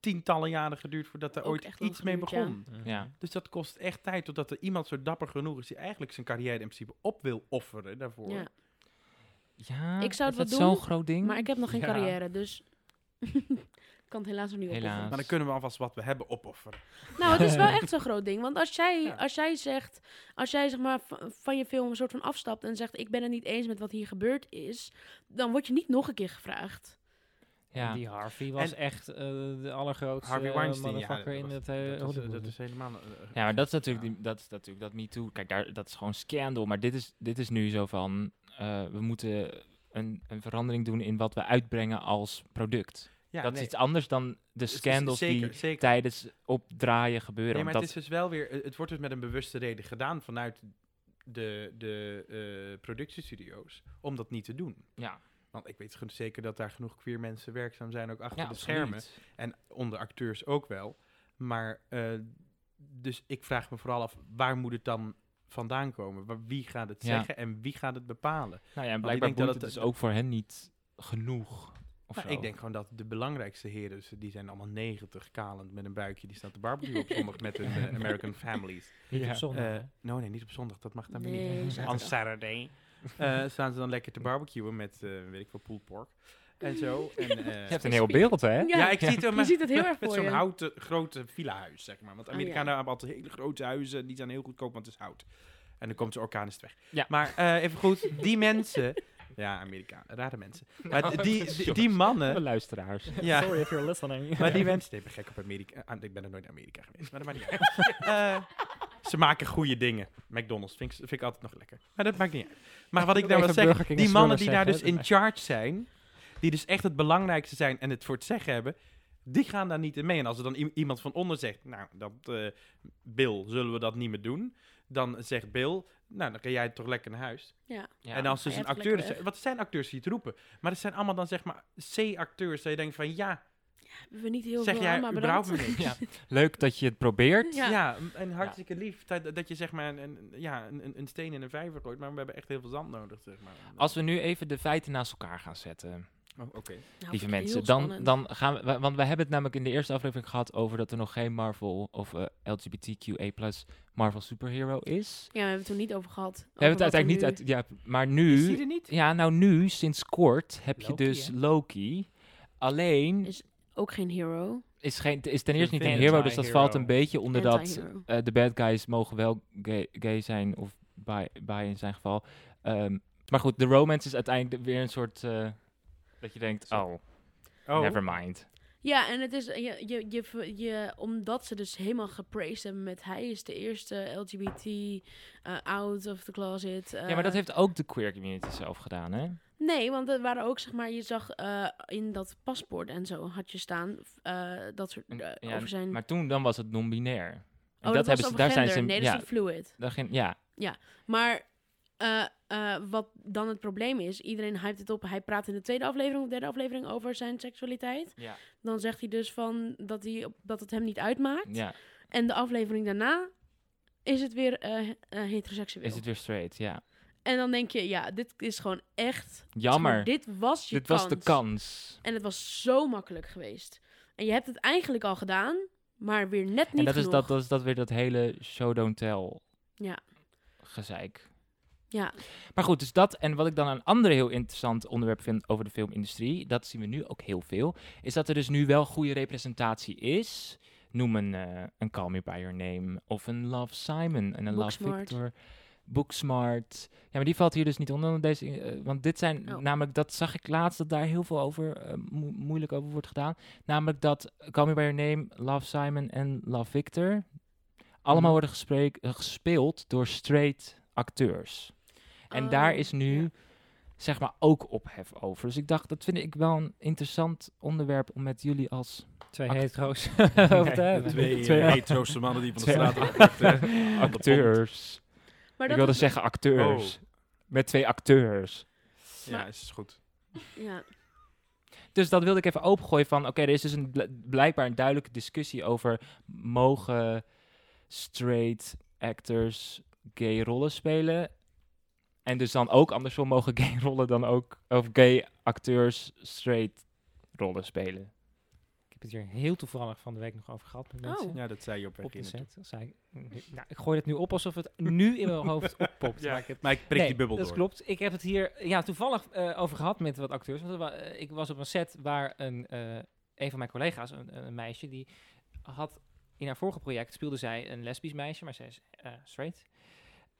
S4: tientallen jaren geduurd voordat er
S2: Ook
S4: ooit
S2: echt lang
S4: iets mee
S2: geduurd, ja.
S4: begon?
S6: Ja.
S4: Dus dat kost echt tijd totdat er iemand zo dapper genoeg is die eigenlijk zijn carrière in principe op wil offeren daarvoor.
S2: ja.
S6: Ja,
S2: Ik zou
S6: is
S2: het
S6: dat
S2: wel doen,
S6: zo'n groot ding.
S2: Maar ik heb nog geen
S4: Ja.
S2: carrière, dus kan kan het helaas nog niet
S6: Helaas.
S2: opofferen.
S4: Maar dan kunnen we alvast wat we hebben opofferen.
S2: Nou, het is wel echt zo'n groot ding. Want als jij,
S4: Ja.
S2: als jij zegt, als jij zeg maar va- van je film een soort van afstapt en zegt: Ik ben het niet eens met wat hier gebeurd is, dan word je niet nog een keer gevraagd.
S6: Ja.
S1: Die Harvey was
S4: En-
S1: echt eh, de allergrootste
S4: Harvey
S1: eh,
S4: Weinstein, ja.
S1: motherfucker in
S4: was-
S1: het hele
S4: dat, is, eh,
S1: Hollywood.
S4: dat is helemaal... eh,
S6: Ja, maar dat is natuurlijk,
S4: Ja.
S6: die, dat, is natuurlijk dat MeToo. Kijk, daar, dat is gewoon scandal. Maar dit is, dit is nu zo van, eh, we moeten een, een verandering doen in wat we uitbrengen als product.
S4: ja,
S6: dat
S4: nee.
S6: is iets anders dan de
S4: Het is-
S6: scandals
S4: zeker,
S6: die
S4: zeker.
S6: tijdens opdraaien gebeuren.
S4: Nee, maar
S6: want
S4: het is dus wel weer... eh, Het wordt dus met een bewuste reden gedaan vanuit de, de eh, productiestudio's om dat niet te doen.
S6: dat- ja,
S4: Want ik weet gewoon zeker dat daar genoeg queer mensen werkzaam zijn, ook achter
S6: ja,
S4: de
S6: absoluut.
S4: schermen. En onder acteurs ook wel. Maar, eh, dus ik vraag me vooral af, waar moet het dan vandaan komen? Wa- Wie gaat het
S6: Ja.
S4: zeggen en wie gaat het bepalen?
S6: Nou ja, en
S4: ik
S6: blijkbaar
S4: denk
S6: boeit
S4: dat
S6: het
S4: het-
S6: dus ook voor hen niet genoeg. Of
S4: Nou,
S6: zo.
S4: ik denk gewoon dat de belangrijkste heren, dus die zijn allemaal 90, kalend met een buikje, die staat te barbecue op zondag met hun eh, American families.
S1: Niet op
S6: Ja.
S1: zondag,
S4: Eh,
S1: hè.
S4: no, nee, niet op zondag, dat mag dan weer niet.
S2: Nee, zaterdag.
S4: On Saturday. Eh, staan ze dan lekker te barbecuen met, eh, weet ik veel, pulled pork en zo. En, eh,
S6: Je hebt een heel beeld, hè?
S4: ja, ik zie het wel,
S2: Je
S4: maar-
S2: ziet het heel erg
S4: Met
S2: voor
S4: zo'n
S2: je.
S4: houten grote villa-huis, zeg maar. Want
S2: Oh,
S4: Amerikanen
S2: ja.
S4: hebben altijd hele grote huizen. Die zijn heel goedkoop, want het is hout. En dan komt de orkaan is het weg.
S6: Ja.
S4: Maar eh, even goed, die mensen... Ja, Amerikanen, rare mensen. Maar die, die, die, mannen...
S6: luisteraars.
S4: Ja,
S1: if you're listening.
S4: maar die mensen... Ik ben gek op Amerika. Ah, ik ben er nooit in Amerika geweest, maar dat maakt niet uit. Eh, ze maken goede dingen. McDonald's vind ik, vind ik altijd nog lekker. Maar dat maakt niet uit. Maar wat ik daar
S1: Even
S4: wil zeggen...
S1: Burger King
S4: Die
S1: en
S4: mannen die
S1: Swallow
S4: daar dus
S1: zeggen,
S4: in charge zijn... Die dus echt het belangrijkste zijn en het voor het zeggen hebben... Die gaan daar niet in mee. En als er dan i- iemand van onder zegt... Nou, dat, eh, Bill, zullen we dat niet meer doen? Dan zegt Bill... Nou, dan ga jij toch lekker naar huis.
S2: Ja.
S6: Ja.
S4: en
S2: Hij
S4: als dus een
S2: heeft
S4: acteur...
S2: lekker
S4: Is, wat zijn acteurs die het roepen? Maar dat zijn allemaal dan zeg maar C-acteurs. Dat je denkt van ja,
S2: We hebben niet heel
S4: zeg
S2: veel
S4: jij
S2: aan, maar
S4: überhaupt
S2: bedankt.
S4: maar niks.
S6: Ja. Leuk dat je het probeert.
S2: Ja. Nou,
S4: Ja. en hartstikke lief dat, dat je zeg maar een, een- ja, een, een steen in een vijver gooit. Maar we hebben echt heel veel zand nodig, zeg maar.
S6: Als we nu even de feiten naast elkaar gaan zetten.
S4: Oh, Oké.
S2: Nou,
S6: Lieve
S2: vind ik
S6: mensen,
S2: heel
S6: dan,
S2: spannend.
S6: dan gaan we, wa- want we hebben het namelijk in de eerste aflevering gehad over dat er nog geen Marvel of eh, LGBTQA Marvel superhero is.
S2: Ja, we hebben het er niet over gehad.
S6: We hebben het uiteindelijk niet uit, ja, maar
S4: Is die
S6: nu,
S4: er niet?
S6: ja, nou nu, sinds kort heb je
S1: Loki,
S6: dus
S1: hè?
S6: Loki. Alleen
S2: Is- Ook geen hero.
S6: is, geen, is ten eerste niet een
S4: Anti-hero.
S6: hero, dus dat valt een beetje onder dat
S2: Anti-hero.
S6: eh, de bad guys mogen wel gay, gay zijn of bi, bi in zijn geval. Ehm, maar goed, de romance is uiteindelijk weer een soort, eh, dat je denkt,
S4: Zo.
S6: oh,
S4: Oh.
S6: never
S2: Eh.
S6: mind.
S2: Ja, en het is, je, je, je, ver- je, omdat ze dus helemaal gepraised hebben met hij is de eerste LGBT, eh, out of the closet.
S6: Ja, maar dat
S2: eh,
S6: heeft ook de queer community zelf gedaan, hè?
S2: Nee, want er waren ook, zeg maar, je zag eh, in dat paspoort en zo had je staan eh, dat soort
S6: En-
S2: eh,
S6: ja,
S2: over zijn...
S6: Maar toen dan was het non-binair. En
S2: oh, dat, was over gender. nee, dat
S6: ja,
S2: is niet fluid.
S6: daar ging- ja,
S2: Maar eh, eh, wat dan het probleem is, iedereen hypt het op. Hij praat in de tweede aflevering of derde aflevering over zijn seksualiteit.
S6: ja,
S2: Dan zegt hij dus van dat, hij, op- dat het hem niet uitmaakt.
S6: ja,
S2: En de aflevering daarna is het weer eh, he- eh, heteroseksueel.
S6: is het weer straight, ja.
S2: En dan denk je, ja, dit is gewoon echt...
S6: Jammer, dit,
S2: Dit was je
S6: was de kans.
S2: En het was zo makkelijk geweest. En je hebt het eigenlijk al gedaan, maar weer net niet
S6: En dat is
S2: genoeg.
S6: dat, dat is dat weer dat hele show don't tell
S2: Ja.
S6: gezeik.
S2: Ja,
S6: Maar goed, dus dat en wat ik dan een ander heel interessant onderwerp vind over de filmindustrie, dat zien we nu ook heel veel, is dat er dus nu wel goede representatie is. Noem een, eh, een Call Me By Your Name of een Love Simon en een Love
S2: Booksmart.
S6: Victor. Booksmart. Ja, maar die valt hier dus niet onder. want Deze, eh, want dit zijn
S2: Oh.
S6: namelijk, dat zag ik laatst, dat daar heel veel over, eh, moe- moeilijk over wordt gedaan. Namelijk dat Call Me By Your Name, Love Simon en Love
S2: Mhm.
S6: Victor allemaal worden gespreek- eh, gespeeld door straight acteurs. En
S2: Oh,
S6: daar is nu,
S2: ja.
S6: zeg maar, ook ophef over. Dus ik dacht, dat vind ik wel een interessant onderwerp om met jullie als
S1: Twee
S6: Act-
S1: hetero's over te hebben.
S4: twee
S6: Twee-
S4: eh, hetero's mannen die van de
S6: Twee-
S4: straat afkomen.
S6: acteurs.
S2: Oh, maar dat
S6: ik wilde
S2: is- Oh.
S6: zeggen acteurs. Met twee acteurs.
S4: Ja, is goed.
S2: Ja,
S6: Dus dat wilde ik even opengooien van, oké, er is dus een, bl- blijkbaar een duidelijke discussie over mogen straight actors gay rollen spelen? En dus dan ook andersom mogen gay rollen dan ook, of gay acteurs straight rollen spelen?
S1: Ik heb het hier heel toevallig van de week nog over gehad met mensen.
S2: Oh.
S4: Ja, dat zei je op weg
S1: Op de
S4: in het-
S1: set. Dat Zei, ik- nou, ik gooi het nu op alsof het nu in mijn hoofd oppopt.
S4: Ja.
S1: maar ik heb-
S4: Maar ik prik
S1: Nee,
S4: die bubbel
S1: dat
S4: door.
S1: klopt. Ik heb het hier ja, toevallig eh, over gehad met wat acteurs. Want er wa- eh, ik was op een set waar een eh, een van mijn collega's, een, een meisje, die had in haar vorige project speelde zij een lesbisch meisje, maar zij is eh, straight.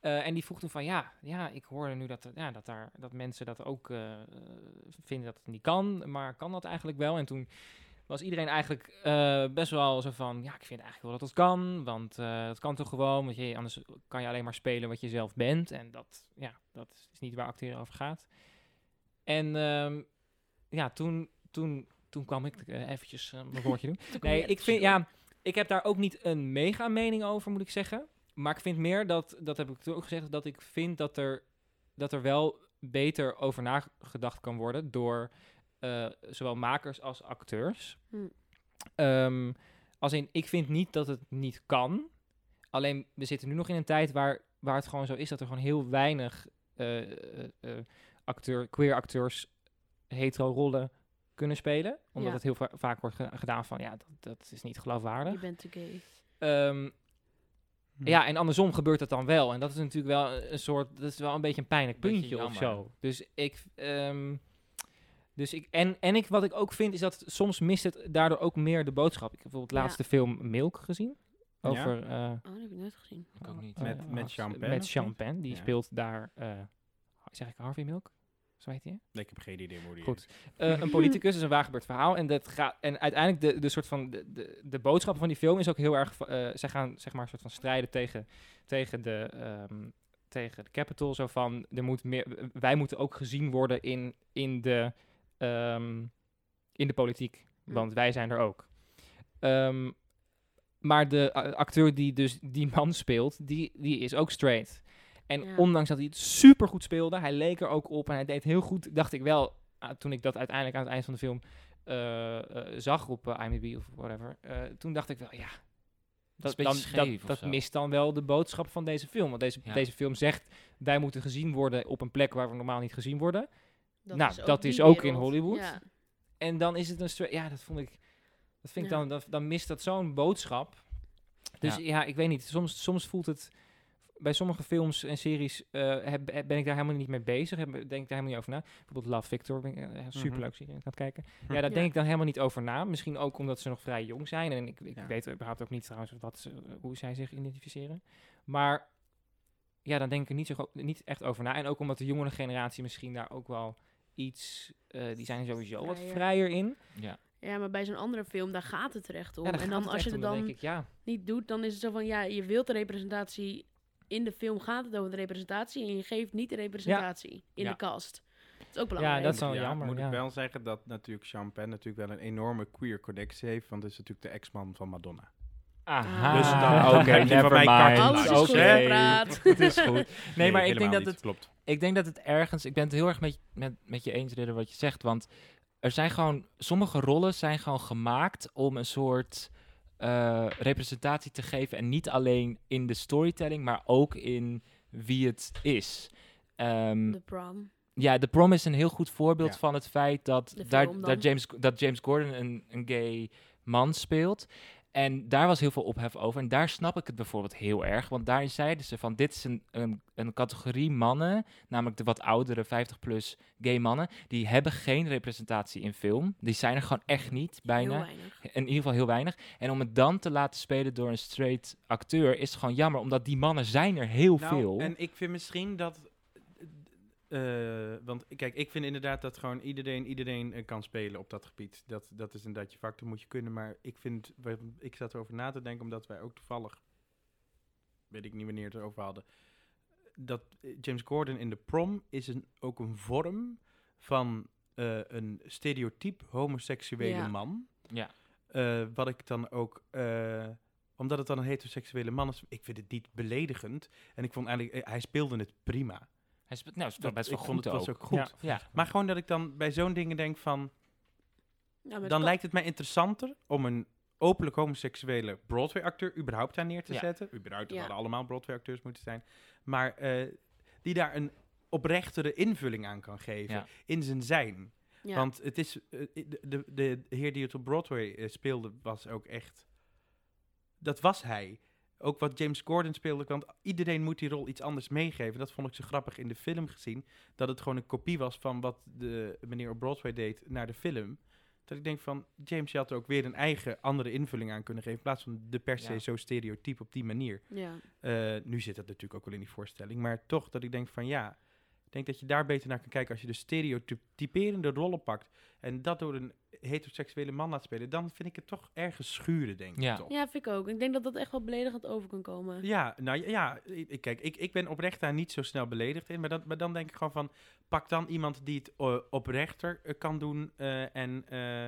S1: Eh, en die vroeg toen van ja, ja ik hoorde nu dat, er- ja, dat, daar, dat mensen dat ook eh, eh, vinden dat het niet kan, maar kan dat eigenlijk wel? En toen was iedereen eigenlijk eh, best wel zo van ja, ik vind eigenlijk wel dat dat kan, want eh dat kan toch gewoon, want je, anders kan je alleen maar spelen wat je zelf bent. En dat, ja, dat is niet waar acteren over gaat. En ehm, ja, toen, toen, toen kwam ik eh, eventjes eh, mijn woordje doen.
S2: Toen kon je
S1: Nee, ik
S2: eventjes
S1: vind,
S2: door.
S1: ja, ik heb daar ook niet een mega mening over, moet ik zeggen. Maar ik vind meer dat, dat heb ik toen ook gezegd, dat ik vind dat er, dat er wel beter over nagedacht kan worden door eh, zowel makers als acteurs.
S2: Hm.
S1: Ehm, als in, ik vind niet dat het niet kan. Alleen, we zitten nu nog in een tijd waar, waar het gewoon zo is dat er gewoon heel weinig eh, eh, eh, acteur, queer acteurs hetero rollen kunnen spelen. Omdat
S2: Ja.
S1: het heel va- vaak wordt ge- gedaan van, ja, dat, dat is niet geloofwaardig.
S2: Je bent te gay.
S1: Ehm,
S4: Hm.
S1: Ja, en andersom gebeurt dat dan wel. En dat is natuurlijk wel een soort, dat is wel een beetje een pijnlijk
S6: Beetje
S1: puntje of
S6: jammer.
S1: zo. Dus ik, ehm, dus ik en, en ik, wat ik ook vind, is dat soms mist het daardoor ook meer de boodschap. Ik heb bijvoorbeeld
S2: Ja.
S1: laatste film Milk gezien.
S4: Ja.
S1: Over, eh,
S2: Oh, dat heb ik nooit gezien.
S6: Ik ook niet.
S1: eh,
S4: Met- met
S1: Hans-
S4: Sean Penn, of
S1: Met
S4: niet?
S1: Sean Penn. Die
S4: Ja.
S1: speelt daar, eh, zeg ik Harvey Milk? Zo heet hij, hè?
S4: Ik heb geen idee hoe die
S1: Goed. Eh, een politicus is een waargebeurd verhaal. En, dat gaat, en uiteindelijk de, de soort van de, de, de boodschap van die film is ook heel erg. eh, zij gaan zeg maar een soort van strijden tegen, tegen de. ehm, tegen de capital, zo van, er moet meer, wij moeten ook gezien worden in, in, de, ehm, in de politiek,
S2: Mm.
S1: want wij zijn er ook. Ehm, maar de eh, acteur die dus die man speelt, die, die is ook straight. En
S2: Ja.
S1: ondanks dat hij het super goed speelde, hij leek er ook op en hij deed heel goed, dacht ik wel, ah, toen ik dat uiteindelijk aan het eind van de film eh, eh, zag op eh, IMDb of whatever, eh, toen dacht ik wel, ja,
S6: Dat is
S1: dat,
S6: een
S1: dan,
S6: beetje scheef
S1: dat,
S6: of
S1: dat
S6: zo.
S1: mist dan wel de boodschap van deze film. Want deze,
S6: Ja.
S1: deze film zegt, wij moeten gezien worden op een plek waar we normaal niet gezien worden. Nou,
S2: ook
S1: dat
S2: die
S1: is ook in
S2: wereld.
S1: Hollywood.
S2: Ja.
S1: En dan is het een... stra- Ja, dat vond ik... Dat vind ik
S2: Ja.
S1: dan, dan... Dan mist dat zo'n boodschap. Dus
S6: Ja.
S1: ja, ik weet niet. Soms, soms voelt het... Bij sommige films en series eh, heb, heb- ben ik daar helemaal niet mee bezig. Heb, denk ik daar helemaal niet over na. Bijvoorbeeld Love, Victor. Ben ik, eh, superleuk serie. Ik ga het kijken.
S4: Hm.
S1: Ja, daar
S2: Ja.
S1: denk ik dan helemaal niet over na. Misschien ook omdat ze nog vrij jong zijn. En ik, ik
S4: Ja.
S1: weet überhaupt ook niet trouwens wat ze, hoe zij zich identificeren. Maar ja, dan denk ik er niet, zo, gro- niet echt over na. En ook omdat de jongere generatie misschien daar ook wel iets... eh, die zijn er sowieso wat
S2: Vrijer.
S1: vrijer in.
S6: Ja.
S2: ja, maar bij zo'n andere film, daar gaat het terecht om.
S1: Ja, daar
S2: en
S1: gaat
S2: dan als je
S1: echt
S2: het
S1: om,
S2: dan
S1: denk ik, ja.
S2: niet doet, dan is het zo van, ja, je wilt de representatie... In de film gaat het over de representatie en je geeft niet de representatie in
S6: Ja.
S2: de kast. Dat is ook
S1: Ja,
S2: belangrijk.
S1: dat is wel
S4: Ja,
S1: jammer.
S4: Moet
S1: ja.
S4: ik wel zeggen dat natuurlijk Sean Penn natuurlijk wel een enorme queer connectie heeft, want het is natuurlijk de ex-man van Madonna.
S1: Ah.
S6: Aha.
S2: Dus dan-
S6: oké,
S4: dan heb je van
S6: never
S4: mijn
S6: mind.
S4: kaart
S2: Alles is
S4: Oké.
S2: goed gepraat.
S6: Het is goed.
S1: Nee, maar ik denk
S4: helemaal
S1: dat
S4: niet.
S1: het...
S4: klopt.
S6: Ik denk dat het ergens... Ik ben het heel erg met, met, met je eens, Ridder, wat je zegt. Want er zijn gewoon... Sommige rollen zijn gewoon gemaakt om een soort eh, representatie te geven. En niet alleen in de storytelling, maar ook in wie het is. Ehm,
S2: De prom.
S6: ja, The Prom is een heel goed voorbeeld
S4: Ja.
S6: van het feit dat,
S2: De
S6: daar,
S2: film dan.
S6: daar James, dat James Gordon een, een gay man speelt. En daar was heel veel ophef over. En daar snap ik het bijvoorbeeld heel erg. Want daarin zeiden ze van dit is een, een, een categorie mannen, namelijk de wat oudere 50-plus gay mannen, die hebben geen representatie in film. Die zijn er gewoon echt niet, bijna.
S2: Heel weinig.
S6: In ieder geval heel weinig. En om het dan te laten spelen door een straight acteur is gewoon jammer, omdat die mannen zijn er heel
S4: Nou,
S6: veel.
S4: En ik vind misschien dat. eh, want kijk, ik vind inderdaad dat gewoon iedereen, iedereen eh, kan spelen op dat gebied. Dat, dat is inderdaad je vak, dat moet je kunnen. Maar ik vind, we- ik zat erover na te denken, omdat wij ook toevallig, weet ik niet wanneer het erover hadden, dat eh, James Gordon in de prom is een, ook een vorm van eh, een stereotyp homoseksuele
S2: Ja.
S4: man.
S6: Ja.
S4: Eh, wat ik dan ook, eh, omdat het dan een heteroseksuele man is, ik vind het niet beledigend. En ik vond eigenlijk, eh, hij speelde het prima.
S6: Hij speelt, nou, hij speelt best wel
S4: ik vond
S6: goed
S4: het was
S6: ook.
S4: ook goed.
S1: Ja.
S6: Ja.
S4: Maar gewoon dat ik dan bij zo'n dingen denk van,
S2: Ja, maar
S4: dan
S2: dat-
S4: lijkt het mij interessanter om een openlijk homoseksuele Broadway-acteur überhaupt daar neer te
S6: Ja.
S4: zetten. Überhaupt, dat
S2: Ja.
S4: hadden allemaal Broadway-acteurs moeten zijn. Maar eh, die daar een oprechtere invulling aan kan geven
S6: Ja.
S4: in zijn zijn.
S2: ja.
S4: Want het is, eh, de, de, de heer die het op Broadway eh, speelde was ook echt, dat was hij. Ook wat James Gordon speelde, want iedereen moet die rol iets anders meegeven. Dat vond ik zo grappig in de film gezien. Dat het gewoon een kopie was van wat de meneer op Broadway deed naar de film. Dat ik denk van, James, je had er ook weer een eigen andere invulling aan kunnen geven. In plaats van de per se
S1: Ja.
S4: zo stereotyp op die manier.
S2: Ja.
S4: Eh, nu zit dat natuurlijk ook wel in die voorstelling. Maar toch dat ik denk van, ja, ik denk dat je daar beter naar kan kijken. Als je de stereotyperende rollen pakt. En dat door een heteroseksuele man laat spelen. Dan vind ik het toch ergens schuren, denk ik
S6: Ja.
S4: toch.
S2: ja, vind ik ook. Ik denk dat dat echt wel beledigend over kan komen.
S4: Ja, nou ja, ja, ik, kijk, ik, ik ben oprecht daar niet zo snel beledigd in. Maar, dat, maar dan denk ik gewoon van, pak dan iemand die het eh, oprechter eh, kan doen eh, en eh,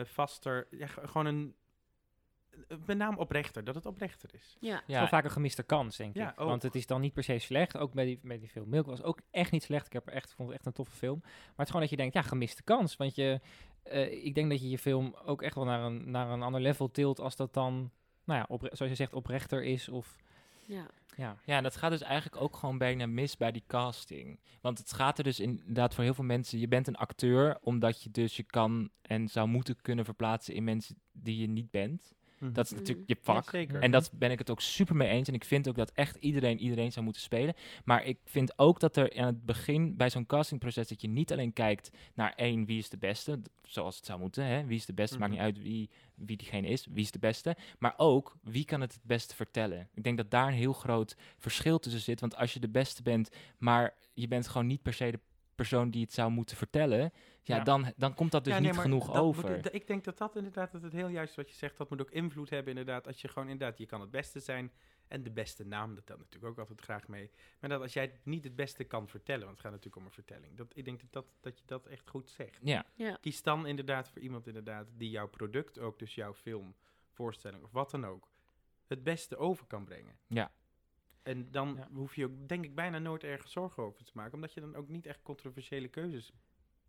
S4: eh, vaster. Ja, g- gewoon een, met name oprechter, dat het oprechter is.
S2: Ja.
S1: Ja. Wel vaak een gemiste kans, denk
S4: Ja,
S1: ik.
S4: ook.
S1: Want het is dan niet per se slecht. Ook bij die, bij die film Milk was ook echt niet slecht. Ik heb er echt, vond het echt een toffe film. Maar het is gewoon dat je denkt, ja, gemiste kans. Want je, eh, ik denk dat je je film ook echt wel naar een, naar een ander level tilt als dat dan, nou ja, opre- zoals je zegt, oprechter is. Of,
S2: ja.
S1: ja.
S6: Ja, en dat gaat dus eigenlijk ook gewoon bijna mis bij die casting. Want het gaat er dus inderdaad voor heel veel mensen. Je bent een acteur, omdat je dus je kan en zou moeten kunnen verplaatsen in mensen die je niet bent. Dat is
S2: Mhm.
S6: natuurlijk je vak.
S4: Ja, zeker.
S6: En
S1: Mhm.
S6: dat ben ik het ook super mee eens. En ik vind ook dat echt iedereen iedereen zou moeten spelen. Maar ik vind ook dat er aan het begin bij zo'n castingproces... dat je niet alleen kijkt naar één, wie is de beste? d- Zoals het zou moeten, hè? Wie is de beste? Maakt
S4: Mhm.
S6: niet uit wie, wie diegene is. Wie is de beste? Maar ook, wie kan het het beste vertellen? Ik denk dat daar een heel groot verschil tussen zit. Want als je de beste bent, maar je bent gewoon niet per se de persoon die het zou moeten vertellen... ja,
S4: Ja.
S6: Dan, dan komt dat dus
S4: Ja, nee,
S6: niet
S4: maar
S6: genoeg
S4: dat moet-
S6: over.
S4: d- ik denk dat dat inderdaad, dat het heel juist wat je zegt, dat moet ook invloed hebben inderdaad. Als je gewoon inderdaad, je kan het beste zijn en de beste naam, dat telt natuurlijk ook altijd graag mee. Maar dat als jij het niet het beste kan vertellen, want het gaat natuurlijk om een vertelling. Dat, ik denk dat, dat, dat je dat echt goed zegt.
S6: ja.
S4: Kies dan inderdaad voor iemand inderdaad die jouw product ook, dus jouw film, voorstelling of wat dan ook, het beste over kan brengen.
S6: Ja.
S4: En dan
S1: Ja.
S4: hoef je ook, denk ik, bijna nooit ergens zorgen over te maken, omdat je dan ook niet echt controversiële keuzes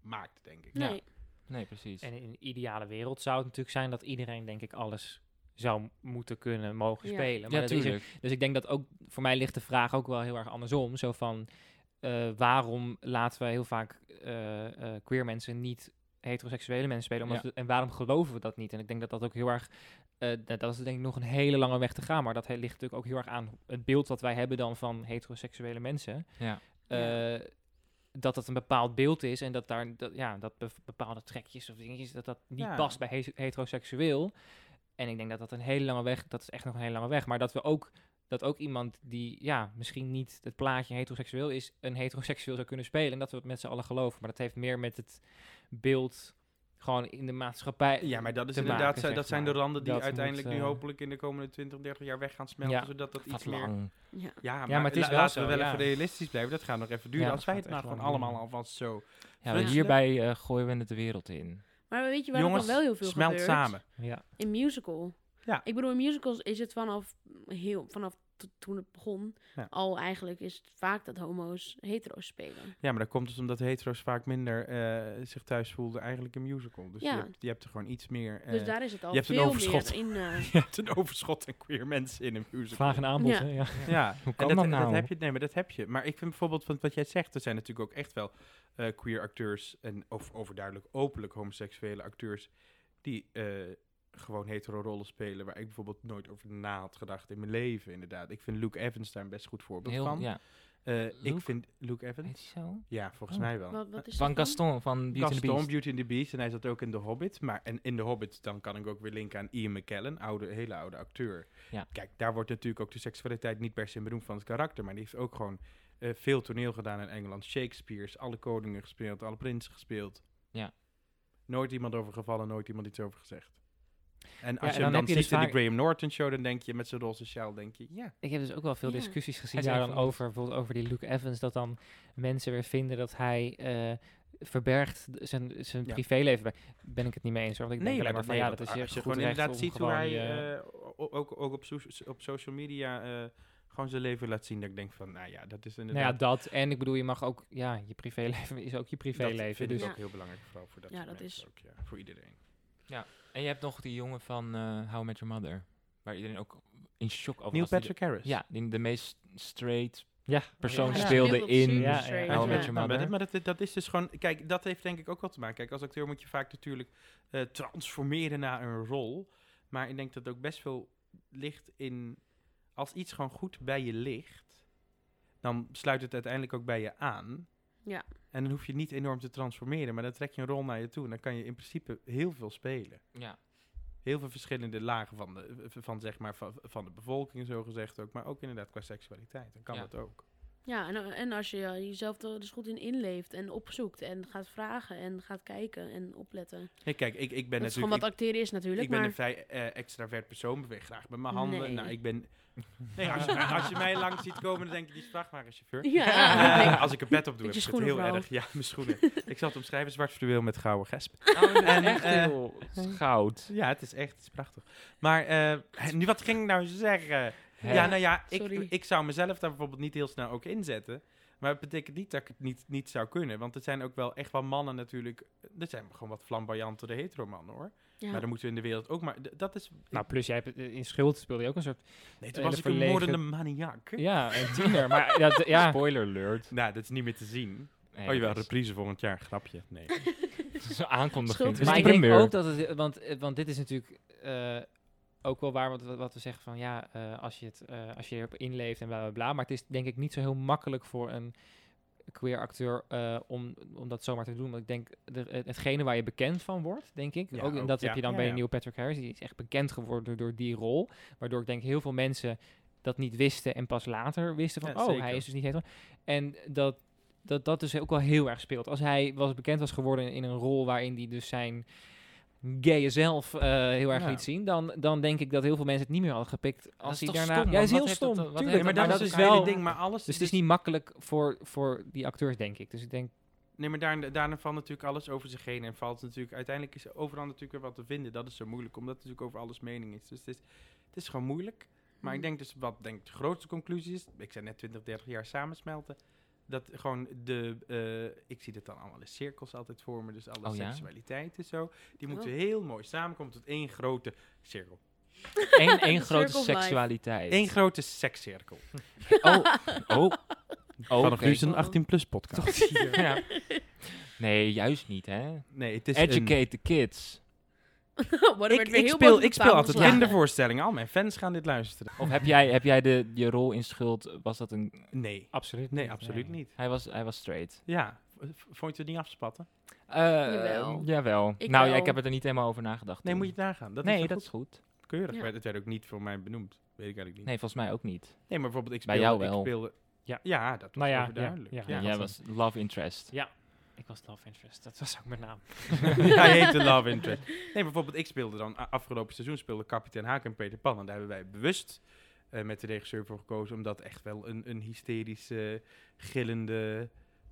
S4: maakt, denk ik.
S2: Nee.
S6: Nee, precies.
S1: En in een ideale wereld zou het natuurlijk zijn dat iedereen, denk ik, alles zou m- moeten kunnen, mogen
S2: Ja.
S1: spelen. Maar
S6: ja,
S1: dat is er
S6: natuurlijk.
S1: Dus ik denk dat ook voor mij ligt de vraag ook wel heel erg andersom. Zo van eh, waarom laten we heel vaak eh, eh, queer mensen niet heteroseksuele mensen spelen? Omdat
S6: Ja.
S1: we- en waarom geloven we dat niet? En ik denk dat dat ook heel erg. eh, dat dat is denk ik nog een hele lange weg te gaan. Maar dat he- ligt natuurlijk ook heel erg aan het beeld dat wij hebben dan van heteroseksuele mensen.
S6: Ja.
S1: Eh, dat dat een bepaald beeld is en dat daar dat, ja, dat bev- bepaalde trekjes of dingetjes, dat dat niet
S4: Ja.
S1: past bij he- heteroseksueel. En ik denk dat dat een hele lange weg, dat is echt nog een hele lange weg. Maar dat we ook, dat ook iemand die, ja, misschien niet het plaatje heteroseksueel is, een heteroseksueel zou kunnen spelen. En dat we het met z'n allen geloven. Maar dat heeft meer met het beeld gewoon in de maatschappij.
S4: Ja, maar dat is
S1: te
S4: inderdaad,
S1: maken,
S4: zo-
S1: zeg
S4: dat zijn de
S1: maar.
S4: randen die
S1: Dat
S4: uiteindelijk
S1: moet,
S4: nu
S1: eh,
S4: hopelijk in de komende 20, 30 jaar weg gaan smelten,
S1: Ja.
S4: zodat dat iets
S6: Wat
S4: meer...
S6: lang.
S2: Ja.
S4: Ja, maar,
S1: maar het is
S4: la-
S1: wel
S4: laten we
S1: zo,
S4: wel
S1: ja.
S4: even realistisch blijven, dat gaat nog even duren.
S1: Ja,
S4: als
S1: dat gaat
S4: wij het nou
S1: echt
S4: gewoon
S1: lang duren.
S4: allemaal alvast zo...
S6: Ja, want
S2: Ja.
S6: hierbij eh, gooien we het de wereld in.
S2: Maar weet je waar
S4: Jongens,
S2: het dan wel heel veel
S4: smelt
S2: gebeurt?
S4: samen.
S1: Ja,
S2: In musical.
S4: Ja.
S2: Ik bedoel, in musicals is het vanaf, heel, vanaf t- toen het begon
S4: Ja.
S2: al eigenlijk is het vaak dat homo's hetero's spelen.
S4: Ja, maar dat komt dus omdat hetero's vaak minder eh, zich thuis voelden eigenlijk in musical. Dus
S2: Ja.
S4: je, hebt, je hebt er gewoon iets meer... eh,
S2: dus daar is het al
S4: je hebt een
S2: veel
S4: overschot.
S2: meer in. eh,
S4: je hebt een overschot aan queer mensen in een musical.
S1: vraag en aanbod.
S2: Ja.
S1: hè, Ja.
S4: Ja,
S6: Hoe
S4: en
S6: kan
S4: dat,
S6: dat nou?
S4: dat heb je. Nee, maar dat heb je. Maar ik vind bijvoorbeeld van wat jij zegt, er zijn natuurlijk ook echt wel eh, queer acteurs en of overduidelijk openlijk homoseksuele acteurs die eh, gewoon hetero rollen spelen, waar ik bijvoorbeeld nooit over na had gedacht in mijn leven, inderdaad. Ik vind Luke Evans daar een best goed voorbeeld
S6: Heel,
S4: van.
S6: ja.
S4: Eh,
S6: Luke?
S4: ik vind Luke Evans.
S6: Heet hij zo?
S4: Ja, volgens
S6: Oh.
S4: mij wel.
S2: wat, wat is
S6: Van
S2: dat dan?
S6: Gaston, van Beauty and the
S4: Gaston,
S6: Beast.
S4: Beauty and the Beast. En hij zat ook in The Hobbit. Maar en in The Hobbit, dan kan ik ook weer linken aan Ian McKellen, oude, hele oude acteur.
S6: Ja.
S4: Kijk, daar wordt natuurlijk ook de seksualiteit niet per se in beroemd van het karakter. Maar die heeft ook gewoon eh, veel toneel gedaan in Engeland. Shakespeare's, alle koningen gespeeld, alle prinsen gespeeld.
S6: Ja.
S4: Nooit iemand over gevallen, nooit iemand iets over gezegd. En als
S1: en dan
S4: je hem dan
S1: heb je dus
S4: ziet in de
S1: vaak-
S4: Graham Norton show, dan denk je met zijn roze sjaal, denk je, ja.
S1: Ik heb dus ook wel veel
S2: Ja.
S1: discussies gezien
S6: Hij is
S1: daar dan
S6: een van de-
S1: over, bijvoorbeeld over die Luke Evans, dat dan mensen weer vinden dat hij eh, verbergt d- zijn, zijn
S4: Ja.
S1: privéleven. Bij. Ben ik het niet mee eens hoor. Want ik denk alleen maar
S4: dat-
S1: van
S4: nee,
S1: ja,
S4: want
S1: dat is je
S4: als je
S1: goed
S4: gewoon
S1: recht
S4: inderdaad
S1: om
S4: ziet hoe
S1: gewoon
S4: hij
S1: je-
S4: eh, o- o- ook, ook op, so- op social media eh, gewoon zijn leven laat zien. Dat ik denk van, nou ja, dat is
S1: nou ja,
S4: inderdaad...
S1: dat. En ik bedoel, je mag ook, ja, je privéleven is ook je
S4: dat
S1: privéleven.
S4: vind
S1: Dus
S4: ik
S2: Ja.
S4: ook heel belangrijk vooral voor dat
S2: Ja,
S4: soort
S2: dat
S4: mensen
S2: is-
S4: ook, ja, voor iedereen.
S6: En je hebt nog die jongen van eh, How I Met Your Mother. Waar iedereen ook in shock over
S4: Neil
S6: was. Die
S4: Patrick Harris.
S6: de- ja, die de meest straight
S1: ja,
S6: persoon
S4: Ja.
S6: speelde
S2: Heel
S6: in
S2: super
S1: Ja,
S2: straight,
S1: ja.
S6: How I Met
S2: ja.
S6: Your
S4: maar
S6: Mother.
S4: dat, maar dat, dat is dus gewoon... Kijk, dat heeft denk ik ook wel te maken. Kijk, als acteur moet je vaak natuurlijk eh, transformeren naar een rol. Maar ik denk dat het ook best veel ligt in... Als iets gewoon goed bij je ligt, dan sluit het uiteindelijk ook bij je aan.
S2: Ja.
S4: En dan hoef je niet enorm te transformeren, maar dan trek je een rol naar je toe. En dan kan je in principe heel veel spelen.
S6: Ja.
S4: Heel veel verschillende lagen van de, van, zeg maar, van, van de bevolking, zo gezegd ook. Maar ook inderdaad qua seksualiteit. Dan kan
S6: Ja.
S4: dat ook.
S2: Ja, en, en als je eh, jezelf er dus goed in inleeft en opzoekt en gaat vragen en gaat kijken en opletten.
S4: Hey, kijk, ik, ik ben
S2: dat is gewoon
S4: natuurlijk...
S2: wat acteren is natuurlijk,
S4: Ik ben
S2: maar
S4: een vrij eh, extravert persoon, beweeg graag met mijn handen.
S2: Nee.
S4: Nou, ik ben... Nee, als, je, als je mij langs ziet komen, dan denk je, die is vrachtwagenchauffeur.
S2: Ja,
S4: Eh,
S2: ja, ja.
S4: als ik een pet op doe,
S2: Met
S4: heb
S2: je
S4: ik het heel
S2: schoenen
S4: erg. Ja, mijn schoenen. ik zal het omschrijven, zwart fluweel met gouden gesp.
S2: Oh,
S6: en,
S4: En,
S6: echt
S4: eh,
S6: heel goud.
S4: Ja, het is echt, het is prachtig. Maar eh, nu, wat ging ik nou zeggen?
S6: Hè?
S4: Ja, nou ja, ik,
S2: sorry.
S4: ik zou mezelf daar bijvoorbeeld niet heel snel ook inzetten. Maar het betekent niet dat ik het niet, niet zou kunnen. Want er zijn ook wel echt wel mannen natuurlijk. eh, Er zijn gewoon wat flamboyantere heteromannen hoor.
S2: ja.
S4: Maar dan moeten we in de wereld ook maar. d- Dat is.
S1: Nou, plus jij hebt eh, in Schuld speelde je ook een soort...
S4: nee,
S1: hele
S4: toen was ik een
S1: verlegen-
S4: moordende maniak.
S1: Ja, een tiener. maar ja, d- ja.
S6: Spoiler alert.
S4: Nou, dat is niet meer te zien.
S6: Nee,
S4: oh,
S6: dat
S4: jawel,
S6: is-
S4: reprise volgend jaar. Grapje. Nee.
S6: dat is een aankondiging. Dus
S2: Schuld-
S6: Het is
S1: maar
S6: een
S1: ik denk
S6: primeur.
S1: ook dat het, want, eh, want dit is natuurlijk eh, ook wel waar wat, wat- wat we zeggen van ja, eh, als, je het, eh, als je erop inleeft en bla bla bla. Maar het is denk ik niet zo heel makkelijk voor een queer acteur eh, om, om dat zomaar te doen. Want ik denk, de, hetgene waar je bekend van wordt, denk ik.
S4: Ja,
S1: ook, en
S4: ook,
S1: dat
S4: ja.
S1: heb je dan
S4: Ja,
S1: bij
S4: ja.
S1: de nieuwe Patrick Harris. Die is echt bekend geworden door die rol. Waardoor ik denk heel veel mensen dat niet wisten en pas later wisten van
S4: Ja,
S1: oh,
S4: zeker.
S1: hij is dus niet hetero. En dat dat dat dus ook wel heel erg speelt. Als hij was bekend was geworden in een rol waarin hij dus zijn gaye zelf eh, heel erg
S4: Ja.
S1: liet zien, dan, dan denk ik dat heel veel mensen het niet meer hadden gepikt als hij
S6: toch
S1: daarna.
S6: stom,
S1: ja, dat is heel
S6: want wat
S1: stom.
S6: heeft dat- wat
S1: tuurlijk,
S6: heeft
S4: maar, dat is
S6: dus
S4: dus wel...
S6: wel-
S4: ding. Maar alles.
S1: Dus het is niet makkelijk voor, voor die acteurs, denk ik. Dus ik denk,
S4: Nee, maar daar, daarna valt natuurlijk alles over zich heen en valt natuurlijk... Uiteindelijk is er overal natuurlijk weer wat te vinden. Dat is zo moeilijk, omdat het natuurlijk over alles mening is. Dus het is, het is gewoon moeilijk. Maar ik
S2: Hmm.
S4: denk dus, wat denk ik de grootste conclusie is... Ik zei net 20, 30 jaar samensmelten. Dat gewoon de... eh, ik zie dat dan allemaal in cirkels altijd voor me. Dus alle
S6: Oh ja?
S4: seksualiteit en zo. Die moeten heel mooi samenkomen tot één grote cirkel.
S6: Eén één
S2: The
S6: grote
S2: circle of life.
S6: seksualiteit.
S4: Eén grote sekscirkel.
S6: Oh, oh. oh oké.
S2: is een
S4: 18-plus podcast.
S6: Ja. Nee, juist niet, hè.
S4: Nee, het is een-
S6: Educate the kids.
S2: Worden we
S4: Ik,
S2: Oh, er weer
S4: ik
S2: heel
S4: speel,
S2: boven de
S4: ik speel
S2: tafel
S4: altijd
S2: geslagen.
S4: kindervoorstellingen. Al mijn fans gaan dit luisteren.
S6: Of heb jij, heb jij de, je rol in schuld, was dat een...
S4: Nee.
S1: absoluut.
S4: Nee, absoluut niet.
S6: Hij was, hij was straight.
S4: Ja, v- v- vond je het niet afspatten?
S6: Eh,
S2: Jawel.
S6: Jawel.
S2: Ik
S6: nou ja,
S2: wel.
S6: ik heb het er niet helemaal over nagedacht.
S4: Nee,
S6: toen.
S4: moet je het nagaan. Dat
S6: nee,
S4: is
S6: dat
S4: dat
S6: is goed.
S4: keurig.
S2: Ja.
S4: Maar het werd ook niet voor mij benoemd. Weet ik eigenlijk niet. Nee,
S6: Nee, volgens mij ook niet.
S4: maar bijvoorbeeld ik
S6: Bij
S4: speelde...
S6: jou wel.
S4: Ik speelde,
S1: Ja.
S4: ja. ja, dat was
S1: Nou ja, ja,
S4: overduidelijk.
S1: ja.
S4: Ja,
S6: Ja,
S1: dat
S6: jij
S1: was
S6: was love interest.
S1: Ik was Love Interest, dus dat was ook mijn naam.
S4: Hij heet de Love Interest. Nee, maar bijvoorbeeld ik speelde dan... a- Afgelopen seizoen speelde kapitein Haak en Peter Pan. En daar hebben wij bewust eh, met de regisseur voor gekozen... om dat echt wel een, een hysterische, gillende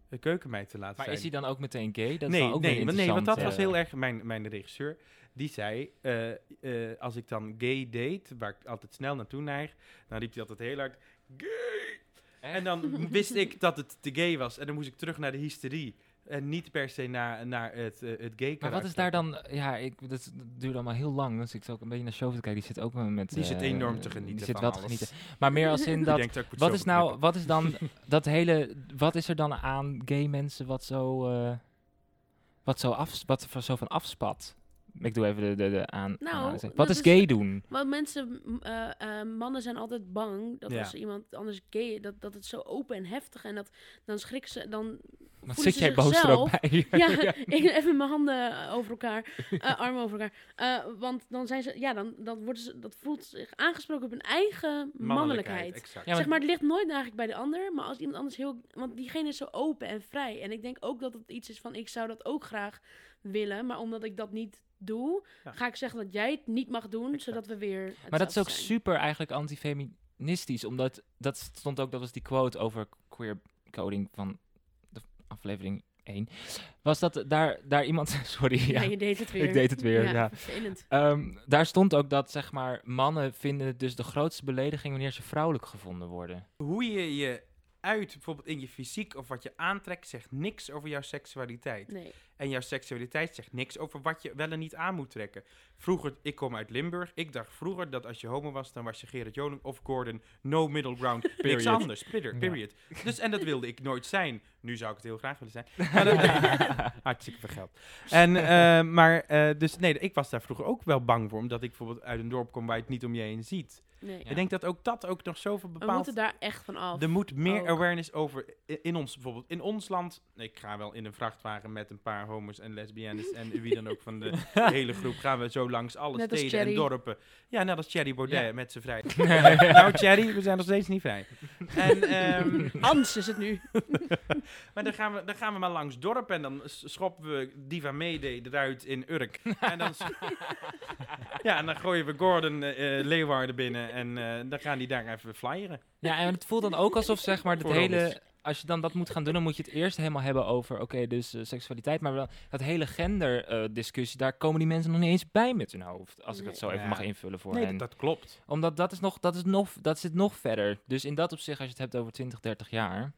S4: eh, keukenmeid te laten
S6: Maar
S4: zijn.
S6: is hij dan ook meteen gay? Dat is
S4: nee,
S6: dan ook
S4: nee,
S6: weer
S4: want- nee, want dat was
S6: interessant, eh.
S4: heel erg. Mijn, mijn regisseur, die zei: eh, eh, Als ik dan gay date, waar ik altijd snel naartoe neig, dan riep hij altijd heel hard: Gay! En dan wist ik dat het te gay was. En dan moest ik terug naar de hysterie. En niet per se naar, naar het, eh, het gay
S6: Maar wat
S4: karakter.
S6: is daar dan... Ja, ik, dat, dat duurt allemaal heel lang. Dus ik zat ook een beetje naar Show te kijken. Die zit ook wel met...
S4: Die
S6: eh,
S4: zit enorm te genieten.
S6: Die zit
S4: van
S6: wel te
S4: alles.
S6: genieten. Maar meer als in
S4: Die
S6: dat...
S4: denkt, "Oh, ik moet
S6: Wat
S4: zo
S6: is nou,
S4: beknippen."
S6: wat is dan dat hele, wat is er dan aan gay mensen wat zo, eh, wat zo, af, wat er zo van afspat? Ik doe even de, de, de aan.
S2: Nou,
S6: aanhaling.
S2: dat
S6: wat is
S2: is-
S6: gay doen?
S2: Want mensen, m, eh, eh, mannen zijn altijd bang dat
S4: Ja.
S2: als iemand anders gay, dat, dat het zo open en heftig en dat dan schrikken ze, dan
S6: Wat
S2: voelen
S6: zit
S2: ze
S6: jij boos er ook
S2: zichzelf-
S6: bij?
S2: Ja, ik, even mijn handen over elkaar, eh, armen over elkaar. Eh, want dan zijn ze, ja, dan, dan worden ze, dat voelt zich aangesproken op hun eigen mannelijkheid.
S4: Exact.
S6: Ja, maar-
S2: zeg maar, het ligt nooit eigenlijk bij de ander, maar als iemand anders heel, want diegene is zo open en vrij. En ik denk ook dat het iets is van, ik zou dat ook graag willen, maar omdat ik dat niet doe,
S4: Ja.
S2: ga ik zeggen dat jij het niet mag doen, zodat we weer.
S6: Maar dat is
S2: hetzelfde
S6: ook
S2: zijn.
S6: super eigenlijk antifeministisch, omdat dat stond ook, dat was die quote over queer coding van de aflevering 1. Was dat daar, daar iemand, sorry, ja,
S2: Ja, je deed het weer.
S6: ik deed het weer, ja.
S2: vervelend.
S6: Ehm, daar stond ook dat, zeg maar, mannen vinden het dus de grootste belediging wanneer ze vrouwelijk gevonden worden.
S4: Hoe je je uit, bijvoorbeeld in je fysiek of wat je aantrekt, zegt niks over jouw seksualiteit.
S2: Nee.
S4: En jouw seksualiteit zegt niks over wat je wel en niet aan moet trekken. Vroeger, ik kom uit Limburg, ik dacht vroeger dat als je homo was, dan was je Gerrit Joling of Gordon. No middle ground, niks
S6: Period.
S4: anders. Period,
S1: Ja.
S4: period. Dus, en dat wilde ik nooit zijn. Nu zou ik het heel graag willen zijn. Maar dat- hartstikke veel geld. En, eh, maar, eh, dus nee, ik was daar vroeger ook wel bang voor, omdat ik bijvoorbeeld uit een dorp kom waar je het niet om je heen ziet.
S2: Nee.
S6: Ja.
S4: Ik denk dat ook dat ook nog zoveel
S2: We
S4: bepaalt.
S2: moeten daar echt van af.
S4: Er moet meer
S2: ook.
S4: awareness over i- in ons bijvoorbeeld. In ons land, ik ga wel in een vrachtwagen met een paar homo's en lesbiennes en wie dan ook van de hele groep. Gaan we zo langs alle
S2: Net als
S4: steden en
S2: Thierry.
S4: dorpen. Ja, net als Thierry Baudet
S6: Ja.
S4: met zijn vrij. nou Thierry, we zijn nog steeds niet vrij. En, ehm,
S2: Hans is het nu.
S4: maar dan gaan, we, dan gaan we maar langs dorpen en dan s- schoppen we Diva Mede eruit in Urk. En dan, s- ja, en dan gooien we Gordon eh, eh, Leeuwarden binnen en eh, dan gaan die daar even flyeren.
S6: Ja, en het voelt dan ook alsof, zeg maar, dat
S4: Voor
S6: hele...
S4: ons.
S6: Als je dan dat moet gaan doen, dan moet je het eerst helemaal hebben over, oké, dus eh, seksualiteit. Maar dan, dat hele genderdiscussie, daar komen die mensen nog niet eens bij met hun hoofd. Als ik het
S2: Nee.
S6: zo even
S4: Ja.
S6: mag invullen voor
S4: Nee,
S6: hen.
S4: dat, dat klopt.
S6: Omdat dat is nog, dat is nog, dat zit nog verder. Dus in dat opzicht, als je het hebt over 20, 30 jaar.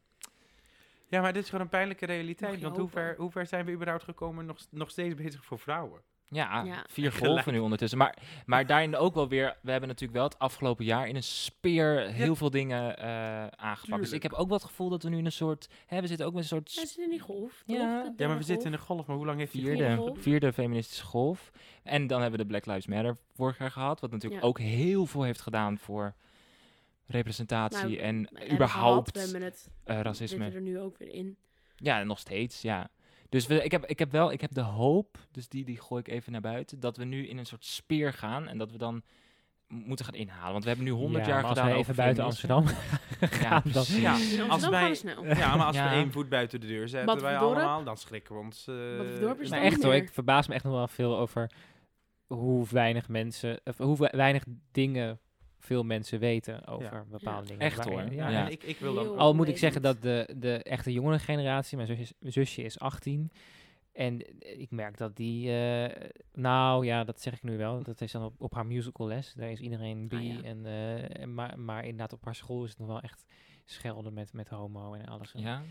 S4: Ja, maar dit is gewoon een pijnlijke
S2: Mag
S4: realiteit.
S2: je
S4: Want hoe
S2: hopen.
S4: ver, hoe ver zijn we überhaupt gekomen? Nog, nog steeds bezig voor vrouwen.
S6: Ja,
S2: Ja.
S6: vier
S4: Gelijk.
S6: golven nu ondertussen. Maar, maar daarin ook wel weer, we hebben natuurlijk wel het afgelopen jaar in een speer heel veel dingen eh, aangepakt. Dus
S4: Tuurlijk.
S6: ik heb ook wel het gevoel dat we nu in een soort, hè, we zitten ook met een soort
S2: Hij zit in die golf.
S6: Ja. Ja, maar
S4: Ja, maar we zitten in een golf, maar hoe lang heeft die
S2: Vierde.
S4: golf?
S6: vierde,
S2: golf.
S6: vierde feministische golf. En dan hebben we de Black Lives Matter vorig jaar gehad, wat natuurlijk
S2: Ja.
S6: ook heel veel heeft gedaan voor representatie
S2: Nou,
S6: en überhaupt
S2: We hebben het.
S6: eh,
S2: We
S6: racisme.
S2: zitten er nu ook weer in.
S6: Ja, nog steeds, ja. Dus we, ik, heb, ik heb wel, ik heb de hoop, dus die, die gooi ik even naar buiten, dat we nu in een soort speer gaan en dat we dan m- moeten gaan inhalen. Want we hebben nu 100
S1: Ja,
S6: jaar
S1: maar
S6: gedaan
S1: als wij
S6: over
S1: even buiten
S6: feminisme.
S1: Amsterdam
S6: Ja,
S1: gaan, dan-
S6: precies.
S4: Ja,
S2: In Amsterdam
S4: als
S2: Dus gaan we
S4: wij,
S2: snel.
S4: ja, maar als
S6: Ja.
S4: we één voet buiten de deur zetten, wij
S2: Badhoevedorp.
S4: allemaal, dan schrikken we ons. eh,
S2: Badhoevedorp is
S1: Maar
S2: dan
S1: echt hoor,
S2: meer.
S1: ik verbaas me echt nog wel veel over hoe weinig mensen, of hoe we- weinig dingen veel mensen weten over bepaalde
S2: Ja.
S1: dingen.
S6: Echt
S1: Waar-
S6: hoor,
S1: ja.
S6: ja.
S4: En ik, ik wil dan.
S2: Heel-
S1: Al moet ik
S2: Onwetend.
S1: zeggen dat de, de echte jongere generatie, mijn zusje is, mijn zusje is 18. En ik merk dat die, eh, nou ja, dat zeg ik nu wel. Dat is dan op, op haar musical les. Daar is iedereen bi.
S2: Ah, ja.
S1: en, eh, en maar, maar inderdaad, op haar school is het nog wel echt schelden met, met homo en alles.
S6: Ja.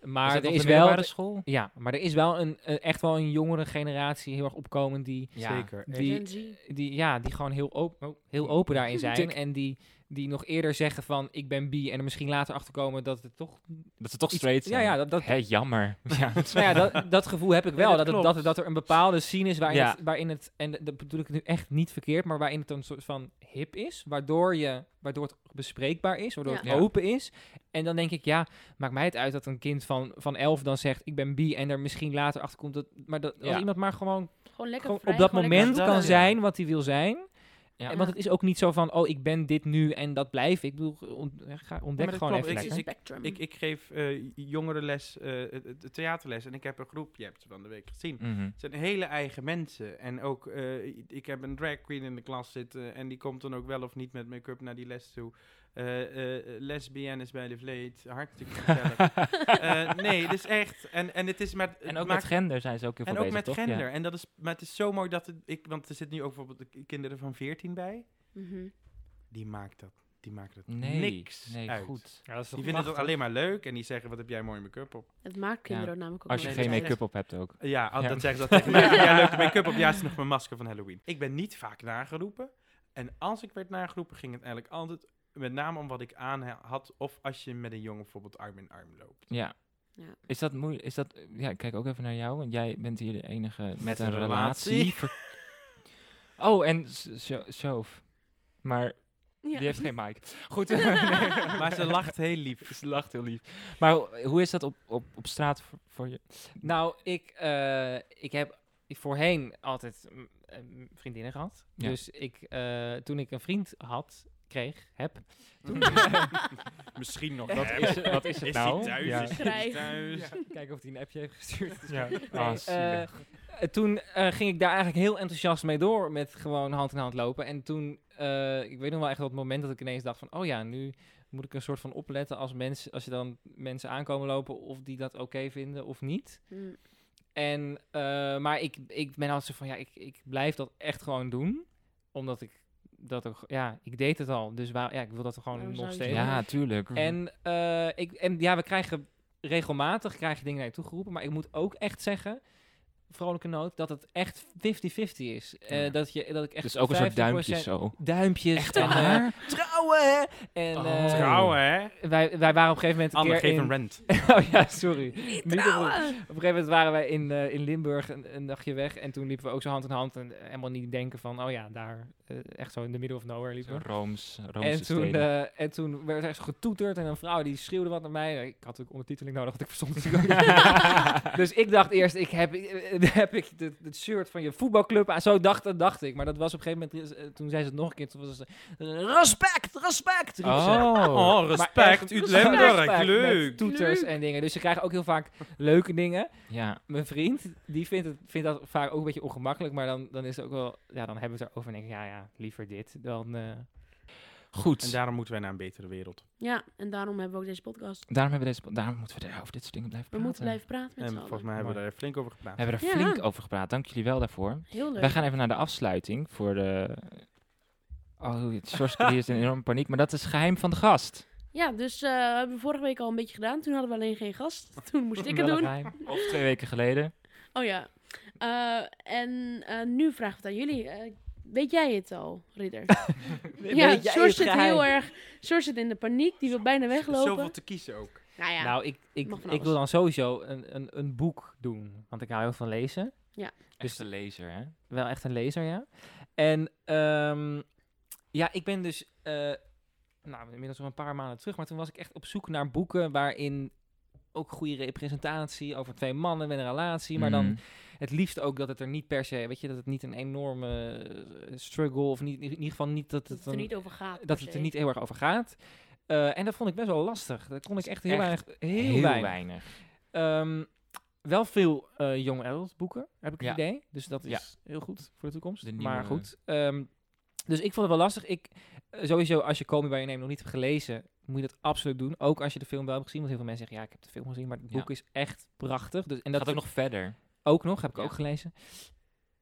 S1: Maar
S6: dat
S1: er
S6: op
S1: is
S6: de
S1: wel,
S6: middelbare school?
S1: ja, maar er is wel een, een- echt wel een jongere generatie heel erg opkomend die,
S6: Ja.
S4: Zeker.
S1: die,
S2: Gen Z.
S1: die, ja, die gewoon heel, op, oh, heel open daarin zijn.
S6: Tik.
S1: En die, die nog eerder zeggen van ik ben bi. En er misschien later achter komen dat het toch.
S6: Dat ze toch
S1: iets-
S6: straight
S1: Ja,
S6: zijn.
S1: ja, dat, dat,
S6: Hé, jammer. Ja.
S1: nou ja dat, dat gevoel heb ik wel.
S4: Nee,
S1: dat,
S4: dat
S1: het- dat,
S4: klopt.
S1: er- dat er een bepaalde scene is waarin,
S6: Ja.
S1: het, waarin het. En dat bedoel ik nu echt niet verkeerd, maar waarin het een soort van hip is. Waardoor, je, waardoor het bespreekbaar is, waardoor
S2: Ja.
S1: het
S6: Ja.
S1: open is. En dan denk ik, ja, maakt mij het uit dat een kind van, van elf dan zegt: Ik ben bi. En er misschien later achter komt dat. Maar dat, als
S6: Ja.
S1: iemand maar gewoon,
S2: Gewoon lekker
S1: gewoon
S2: vrij,
S1: op dat
S2: gewoon lekker
S1: moment
S4: dat
S1: kan
S2: doen.
S4: doen.
S1: zijn wat hij wil zijn.
S6: Ja.
S1: En Want het is ook niet zo van: Oh, ik ben dit nu en dat blijf ik. Ik bedoel, ont- ga- ontdek
S4: dat
S1: gewoon
S4: klopt.
S1: even
S4: Ik-
S2: Het is
S1: lekker.
S2: een
S4: ik-
S2: spectrum.
S4: Ik, ik geef eh, jongerenles, eh, eh, eh, theaterles. En ik heb een groep, je hebt ze van de week gezien.
S6: Mhm.
S4: Het zijn hele eigen mensen. En ook, eh, i- ik heb een drag queen in de klas zitten. En die komt dan ook wel of niet met make-up naar die les toe. Eh eh lesbian is bij de vleet. Hartstikke gezellig. Eh, nee, dus echt. En, en het is met...
S6: En ook met
S4: maakt-
S6: gender zijn ze ook heel veel
S4: en ook
S6: bezig,
S4: met
S6: toch? Ja.
S4: gender. En dat is, maar het is zo mooi dat het, ik, want er zitten nu ook bijvoorbeeld de k- kinderen van 14 bij.
S2: Mhm.
S4: Die maakt dat, die maakt dat
S6: Nee,
S4: niks
S6: nee,
S4: uit.
S6: goed.
S4: Die vinden het ook alleen maar leuk en die zeggen, wat heb jij mooi make-up op.
S2: Het maakt kinderen namelijk ook
S6: Als je
S2: wel
S4: Nee,
S6: geen
S2: leuk.
S4: dat is
S6: make-up op hebt ook.
S4: Ja, al-
S6: Ja.
S4: dat zeggen ze dat tegen mij. Ja, leuke make-up op. Ja, is nog mijn masker van Halloween. Ik ben niet vaak nageroepen. En als ik werd nageroepen, ging het eigenlijk altijd met name om wat ik aan ha- had. Of als je met een jongen bijvoorbeeld arm in arm loopt.
S6: Ja.
S2: Ja.
S6: Is dat moeilijk? Is dat, ja, ik kijk ook even naar jou, want jij bent hier de enige met,
S4: een relatie.
S6: Ver- oh, en Sjoof. Maar
S2: Ja.
S6: die heeft geen mic. Goed.
S4: Maar ze lacht heel lief.
S6: Ze lacht heel lief. Maar ho- hoe is dat op, op, op straat voor, voor je?
S1: Nou, ik, eh, ik heb voorheen altijd mm, eh, mm, vriendinnen gehad.
S6: Ja.
S1: Dus ik, eh, toen ik een vriend had, kreeg, heb. Mm.
S4: Misschien nog.
S6: Wat is, het- wat is het
S4: Is
S6: nou?
S4: die thuis?
S6: Ja.
S4: Is die
S2: Vrij.
S4: thuis?
S1: Kijken of hij een appje heeft gestuurd.
S6: Ja.
S4: Ah,
S1: Nee, eh, eh, toen eh, ging ik daar eigenlijk heel enthousiast mee door met gewoon hand in hand lopen. En toen, eh, ik weet nog wel echt dat moment dat ik ineens dacht van, oh ja, nu moet ik een soort van opletten als mensen, als je dan mensen aankomen lopen of die dat oké vinden of niet.
S2: Mm.
S1: En, eh, maar ik, ik ben altijd zo van, ja, ik, ik blijf dat echt gewoon doen. Omdat ik dat ook, ja, ik deed het al. Dus waar, ja, ik wil dat gewoon
S2: Waarom
S1: nog
S2: zou je
S1: steeds.
S2: het doen?
S6: ja, tuurlijk.
S1: En, eh, ik, en ja, we krijgen regelmatig krijg je dingen naar je toegeroepen. Maar ik moet ook echt zeggen, vrolijke noot, dat het echt 50-50 is. Eh,
S6: Ja.
S1: dat, je, dat ik echt
S6: dus ook een soort duimpjes
S1: 50%
S6: zo.
S1: Duimpjes.
S6: Echt
S1: en, eh,
S6: waar?
S1: trouwen! En
S6: Oh.
S1: eh,
S4: Trouwen, hè?
S1: wij, wij waren op een gegeven moment een
S4: Anne,
S1: keer
S4: geef
S1: in...
S4: een rent.
S1: Oh ja, sorry. Niet op-
S2: Trouwen!
S1: Op een gegeven moment waren wij in, eh, in Limburg een, een dagje weg. En toen liepen we ook zo hand in hand. En helemaal niet denken van, oh ja, daar. eh, echt zo in de middle of nowhere liepen we.
S6: Rooms, Roomse
S1: En toen,
S6: steden.
S1: eh, en toen werd er echt zo getoeterd en een vrouw die schreeuwde wat naar mij. Ik had natuurlijk ondertiteling nodig, want ik verstond het natuurlijk ook niet. Dus ik dacht eerst, ik heb, eh, heb ik de- het shirt van je voetbalclub aan. Zo dacht, dat dacht ik. Maar dat was op een gegeven moment, eh, toen zei ze het nog een keer. Toen was het, eh, respect, respect, riep ze.
S6: oh.
S4: Oh,
S1: Maar
S4: respect,
S1: echt
S4: uit
S1: respect
S4: Limburg,
S1: met
S4: leuk.
S1: Toeters en dingen. Dus ze krijgen ook heel vaak leuke dingen.
S6: Ja,
S1: Mijn vriend, die vindt, het, vindt dat vaak ook een beetje ongemakkelijk. Maar dan, dan is het ook wel, ja, dan hebben we het erover. En denk ik, ja, ja, liever dit dan... eh,
S6: goed.
S4: En daarom moeten wij naar een betere wereld.
S2: Ja, en daarom hebben we ook deze podcast.
S6: daarom, hebben we deze, daarom moeten we daar over dit soort dingen blijven
S2: We
S6: praten.
S2: moeten blijven praten met
S4: En
S2: z'n
S4: volgens
S2: allen.
S4: mij hebben we
S6: Mooi.
S4: daar flink over gepraat.
S6: We hebben er
S2: Ja.
S6: flink over gepraat. Dank jullie wel daarvoor.
S2: Heel leuk.
S6: Wij gaan even naar de afsluiting voor de... Oh, Sjorske die is in enorme paniek. Maar dat is geheim van de gast.
S2: Ja, dus eh, hebben we vorige week al een beetje gedaan. Toen hadden we alleen geen gast. Toen moest ik het
S1: wel een
S2: doen.
S1: geheim.
S6: Of twee weken geleden.
S2: Oh ja. Eh, en eh, nu vraag ik het aan jullie. Eh, weet jij het al, Ridder? ja,
S1: Weet jij
S2: George
S1: het
S2: zit
S1: geheim?
S2: heel erg... George zit in de paniek. Die wil bijna
S4: Zoveel
S2: weglopen.
S4: te kiezen ook.
S2: Nou ja.
S1: Nou, ik, ik,
S2: mag van
S1: ik wil
S2: alles.
S1: dan sowieso een, een, een boek doen. Want ik hou heel van lezen.
S6: Dus de lezer, hè?
S1: Wel echt een lezer, ja. En ehm, ja, ik ben dus... eh, nou, inmiddels al een paar maanden terug. Maar toen was ik echt op zoek naar boeken waarin ook goede representatie over twee mannen met een relatie. Maar dan
S6: Mm.
S1: het liefst ook dat het er niet per se... Weet je, dat het niet een enorme eh, struggle... Of niet, in ieder geval niet dat
S2: dat
S1: het
S2: het er
S1: een-
S2: niet over gaat. per
S1: dat het
S2: se.
S1: er niet heel erg over gaat. Eh, en dat vond ik best wel lastig. Dat kon ik echt heel
S6: Echt
S1: weinig... Heel,
S6: Heel
S1: weinig.
S6: weinig.
S1: Ehm, wel veel eh young adult boeken, heb ik het
S6: Ja.
S1: idee. Dus dat is
S6: Ja.
S1: heel goed voor de toekomst.
S6: De
S1: Maar
S6: nieuwe-
S1: goed. ehm, dus ik vond het wel lastig. Ik, eh, sowieso, als je Call Me By Your Name nog niet hebt gelezen, moet je dat absoluut doen. Ook als je de film wel hebt gezien. Want heel veel mensen zeggen, ja, ik heb de film gezien. Maar het
S6: Ja.
S1: boek is echt prachtig. Dus, en
S6: Dat
S1: dat
S6: gaat ook nog verder.
S1: ook nog, heb ik
S6: Ja.
S1: ook gelezen.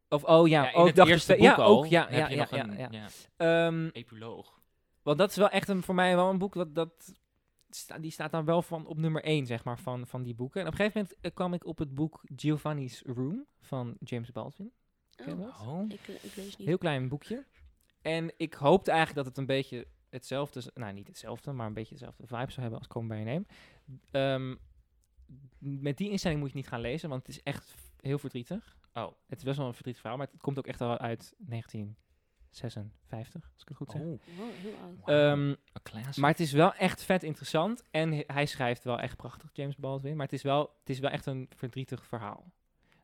S1: Of, oh ja,
S6: in
S1: ook
S6: het
S1: dacht ik
S6: eerste
S1: spe-
S6: boek
S1: ja,
S6: al
S1: ook, ja,
S6: heb
S1: ja,
S6: je
S1: ja,
S6: nog
S1: ja,
S6: een
S1: ja.
S6: ja,
S1: Ehm,
S6: epiloog.
S1: want dat is wel echt een, voor mij wel een boek dat, dat sta- die staat dan wel van op nummer 1, zeg maar, van, van die boeken. En op een gegeven moment eh, kwam ik op het boek Giovanni's Room van James Baldwin.
S2: Oh,
S1: Ken je dat?
S6: Oh.
S2: ik, ik lees niet.
S1: Heel klein boekje. En ik hoopte eigenlijk dat het een beetje hetzelfde, is- nou niet hetzelfde, maar een beetje dezelfde vibe zou hebben als Komen bij je neem. Ehm, met die instelling moet je het niet gaan lezen, want het is echt f- heel verdrietig.
S6: Oh.
S1: Het is best wel een verdrietig verhaal, maar het komt ook echt al uit 1956, als ik het goed zeg.
S6: Oh.
S2: Wow, heel oud.
S6: Wauw.
S1: Ehm,
S6: Een classic.
S1: maar het is wel echt vet interessant. En he- hij schrijft wel echt prachtig, James Baldwin. Maar het is wel, het is wel echt een verdrietig verhaal.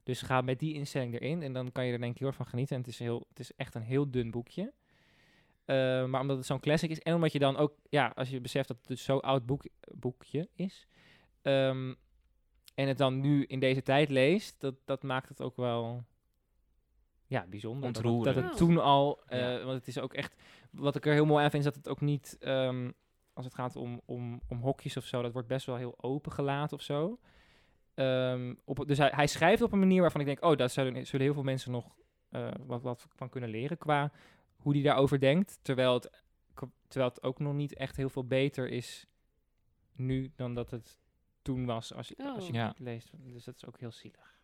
S1: Dus ga met die instelling erin. En dan kan je er denk ik heel erg van genieten. En het is, heel, het is echt een heel dun boekje. Eh, maar omdat het zo'n classic is. En omdat je dan ook, ja, als je beseft dat het dus zo'n oud boek, boekje is. ehm, en het dan nu in deze tijd leest. Dat, dat maakt het ook wel ja, bijzonder. Dat het- Dat,
S6: Ontroerend.
S1: het toen al. eh,
S6: Ja.
S1: Want het is ook echt. Wat ik er heel mooi aan vind is dat het ook niet. ehm, als het gaat om, om, om hokjes of zo, dat wordt best wel heel open gelaten of zo. Ehm, op, dus hij, hij schrijft op een manier waarvan ik denk, oh, daar zullen, zullen heel veel mensen nog eh, wat, wat van kunnen leren qua hoe hij daarover denkt. Terwijl het, k- terwijl het ook nog niet echt heel veel beter is nu dan dat het toen was als, je- als je
S6: Oh. Ja.
S1: het leest. Dus dat is ook heel zielig.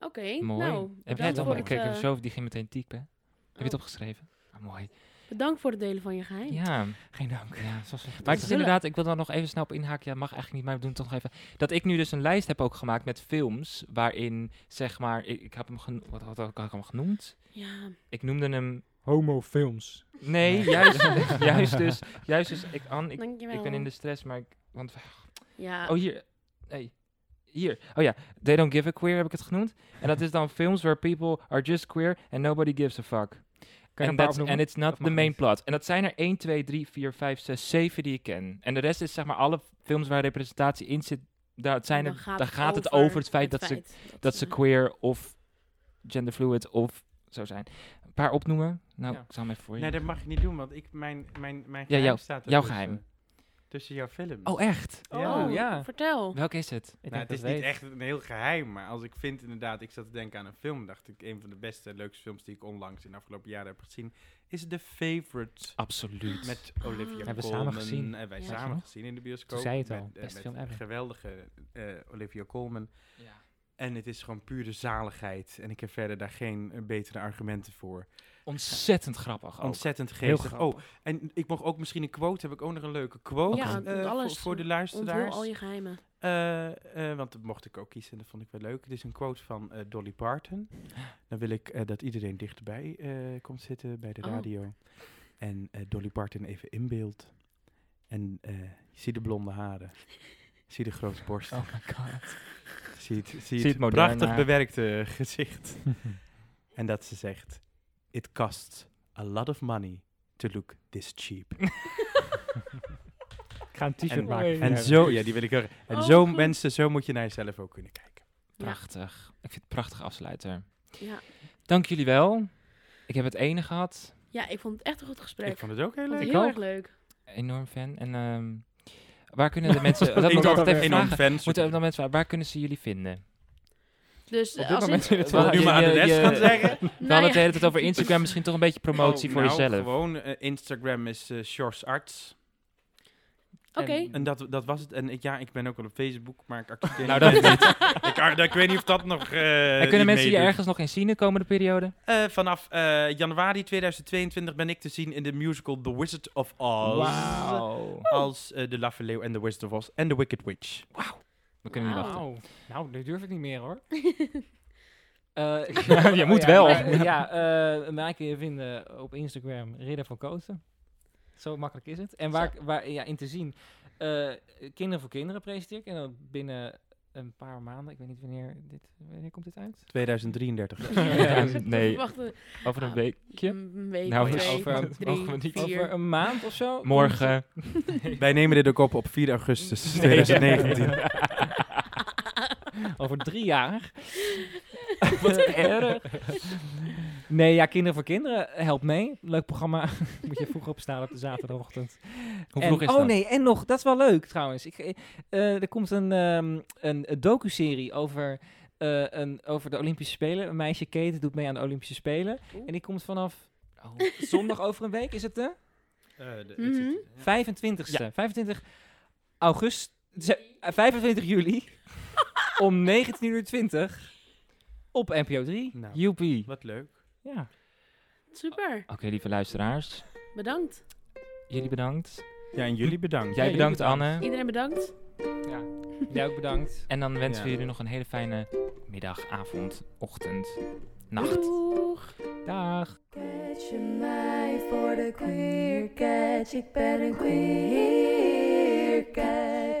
S2: Oké,
S6: Mooi.
S2: nou,
S6: heb jij
S2: bedankt
S6: het
S2: voor
S6: allemaal?
S2: het,
S6: Kijk,
S2: eh,
S6: even zo, die ging meteen typen. Heb je het
S2: oh,
S6: opgeschreven? Ah, mooi.
S2: bedankt voor het delen van je geheim.
S6: Ja.
S1: Geen dank.
S6: ja.
S1: Zoals
S6: Maar het is
S2: zullen-
S6: inderdaad, ik wil daar nog even snel op inhaken. Ja, mag eigenlijk niet, maar we doen het toch nog even. Dat ik nu dus een lijst heb ook gemaakt met films waarin, zeg maar, ik, ik heb hem geno- wat, wat, had ik hem genoemd?
S2: Ja.
S6: Ik noemde hem.
S1: homofilms.
S6: Nee, juist, juist dus, juist dus. Ik, Anne, ik,
S2: Dankjewel.
S6: ik ben in de stress, maar ik, want
S2: Ja.
S6: Oh, hier. Nee. Hier. Oh ja. They don't give a queer heb ik het genoemd. En dat is dan films where people are just queer and nobody gives a fuck.
S1: een paar
S6: En that's-
S1: opnoemen?
S6: and it's
S1: Dat
S6: not
S1: mag
S6: the main
S1: niet.
S6: plot. En dat zijn er 1, 2, 3, 4, 5, 6, 7 die ik ken. En de rest is zeg maar alle films waar representatie in zit. Daar zijn
S2: Dan
S6: er, daar gaat het over het feit dat, Ze, dat ze queer of genderfluid of zo zijn. Een paar opnoemen. Nou,
S1: Ja.
S6: ik zal hem even voor je.
S4: Nee, dat mag je niet doen, want ik, mijn, mijn, mijn
S6: Ja,
S4: geheim
S6: jouw-
S4: staat er
S6: jouw
S4: tussen.
S6: geheim.
S4: Tussen jouw films.
S6: Oh, echt?
S1: Ja.
S2: Oh,
S1: ja.
S2: ja. Vertel.
S6: Welke is het?
S1: Ik
S4: Nou,
S1: denk
S4: het is
S1: dat
S4: niet
S1: weet.
S4: echt een heel geheim, maar als ik vind inderdaad, ik zat te denken aan een film, dacht ik, een van de beste, leukste films die ik onlangs in de afgelopen jaren heb gezien, is The Favorite
S6: Absoluut.
S4: met Olivia
S1: Hebben we
S4: Colman.
S1: samen gezien.
S2: Ja.
S4: Hebben wij
S1: Weet je
S4: samen
S1: nog?
S4: gezien in de bioscoop.
S1: Toen zei je het al,
S4: Met, eh,
S1: beste
S4: met
S1: film ever.
S4: een geweldige eh, Olivia Colman.
S6: Ja.
S4: En het is gewoon pure zaligheid. En ik heb verder daar geen eh, betere argumenten voor.
S6: Ontzettend grappig. Oh. Ook.
S4: Ontzettend
S6: Heel
S4: geestig.
S6: grappig.
S4: Oh, en ik mocht ook misschien een quote, heb ik ook nog een leuke quote
S2: Ja,
S4: eh,
S2: want
S4: voor-
S2: alles
S4: voor, de
S2: Onthul
S4: luisteraars.
S2: al je geheimen.
S4: Eh, eh, want dat mocht ik ook kiezen en dat vond ik wel leuk. Het is een quote van eh, Dolly Parton. Dan wil ik eh, dat iedereen dichterbij eh, komt zitten bij de
S2: Oh.
S4: radio. En eh, Dolly Parton even in beeld. En eh, zie de blonde haren. Zie de grote borst.
S6: Oh my god.
S4: Zie het, zie
S6: Zie
S4: het,
S6: het moderne.
S4: prachtig bewerkte eh, gezicht. en dat ze zegt: It costs a lot of money to look this cheap.
S1: Ik ga een t-shirt
S4: En-
S1: maken.
S4: en zo, ja, die wil ik ook. En
S2: Oh,
S4: zo,
S2: goed.
S4: mensen, zo moet je naar jezelf ook kunnen kijken.
S6: Prachtig. Ik vind het een prachtig afsluiter.
S2: Ja.
S6: Dank jullie wel. Ik heb het ene gehad.
S2: ja, ik vond het echt een goed gesprek.
S4: Ik vond het ook heel
S2: vond
S4: leuk.
S2: het
S6: Ik
S2: heel
S6: ook.
S2: erg leuk.
S6: Enorm fan. En ehm, waar kunnen de mensen... dat moet ik
S4: Enorm,
S6: altijd even
S4: enorm
S6: vragen.
S4: fan.
S6: Moeten we dan mensen... Waar kunnen ze jullie vinden?
S2: Dus
S6: Op dit
S2: als
S6: moment
S2: in-
S6: is het
S4: Zullen we nu
S6: Je-
S4: maar aan de
S6: je-
S4: rest
S6: je-
S4: gaan zeggen?
S6: We
S2: Nou
S6: hadden
S2: ja.
S6: het de hele tijd over Instagram. Misschien toch een beetje promotie
S4: Oh,
S6: voor
S4: nou,
S6: jezelf.
S4: Gewoon eh, Instagram is eh Shores Arts.
S2: Oké.
S6: En-
S4: En dat, dat was het. En ik, ja, ik ben ook al op Facebook, maar ik accepteer
S6: Nou, dat
S4: niet.
S6: niet.
S4: ik, ar- ik weet niet of dat nog. eh,
S6: en kunnen
S4: niet
S6: mensen je
S4: meedoet.
S6: ergens nog in zien de komende periode?
S4: Eh, vanaf eh, januari 2022 ben ik te zien in de musical The Wizard of Oz. Als eh, de Laffe Leeuw en The Wizard of Oz en The Wicked Witch.
S6: We kunnen niet
S2: Wauw.
S6: wachten.
S1: Nou, nou, nu durf ik niet meer hoor.
S6: Ja, je moet wel.
S1: Ja, eh, ja eh, mij kun je vinden op Instagram Ridder van Kooten. Zo makkelijk is het. En waar, waar ja, in te zien, eh, Kinderen voor Kinderen presenteer ik. En dan binnen een paar maanden, ik weet niet wanneer, dit, wanneer komt dit uit?
S4: 2033.
S6: Ja, nee.
S2: Wacht een
S6: Over een
S2: Ah,
S6: weekje.
S2: een week,
S6: Nou,
S2: twee,
S6: over-
S2: over, drie,
S6: mogen we niet
S2: vier.
S1: Over een maand of zo.
S6: Morgen.
S4: Wij nemen dit ook op op 4 augustus
S6: Nee.
S4: 2019.
S1: Over drie jaar. Wat erg. Nee, ja, Kinderen voor Kinderen, help mee. Leuk programma. Moet je vroeg opstaan op de zaterdagochtend.
S6: Hoe
S1: En-
S6: vroeg is
S1: oh
S6: dat?
S1: nee, en nog, dat is wel leuk trouwens. Ik, eh, er komt een, ehm een docu-serie over, eh, een, over de Olympische Spelen. Een meisje, Kate, doet mee aan de Olympische Spelen.
S2: Oeh.
S1: En die komt vanaf oh, zondag over een week, is het de
S4: Eh,
S2: Mhm.
S1: 25ste. 25 augustus, ze- eh, 25 juli om 19.20 uur op NPO 3.
S4: Nou.
S1: Joepie.
S4: Wat leuk.
S1: Ja.
S2: Super,
S6: Oké, lieve luisteraars.
S2: bedankt.
S6: Jullie bedankt.
S4: Ja, en jullie bedankt.
S6: Jij
S1: jullie
S6: bedankt,
S1: bedankt.
S6: Anne.
S2: Iedereen bedankt.
S1: Jij ook bedankt.
S6: En dan wensen we
S4: Ja.
S6: jullie nog een hele fijne middag, avond, ochtend, nacht.
S2: Doeg.
S1: Dag.
S3: Catch je mij voor de queer catch, ik ben een queer catch.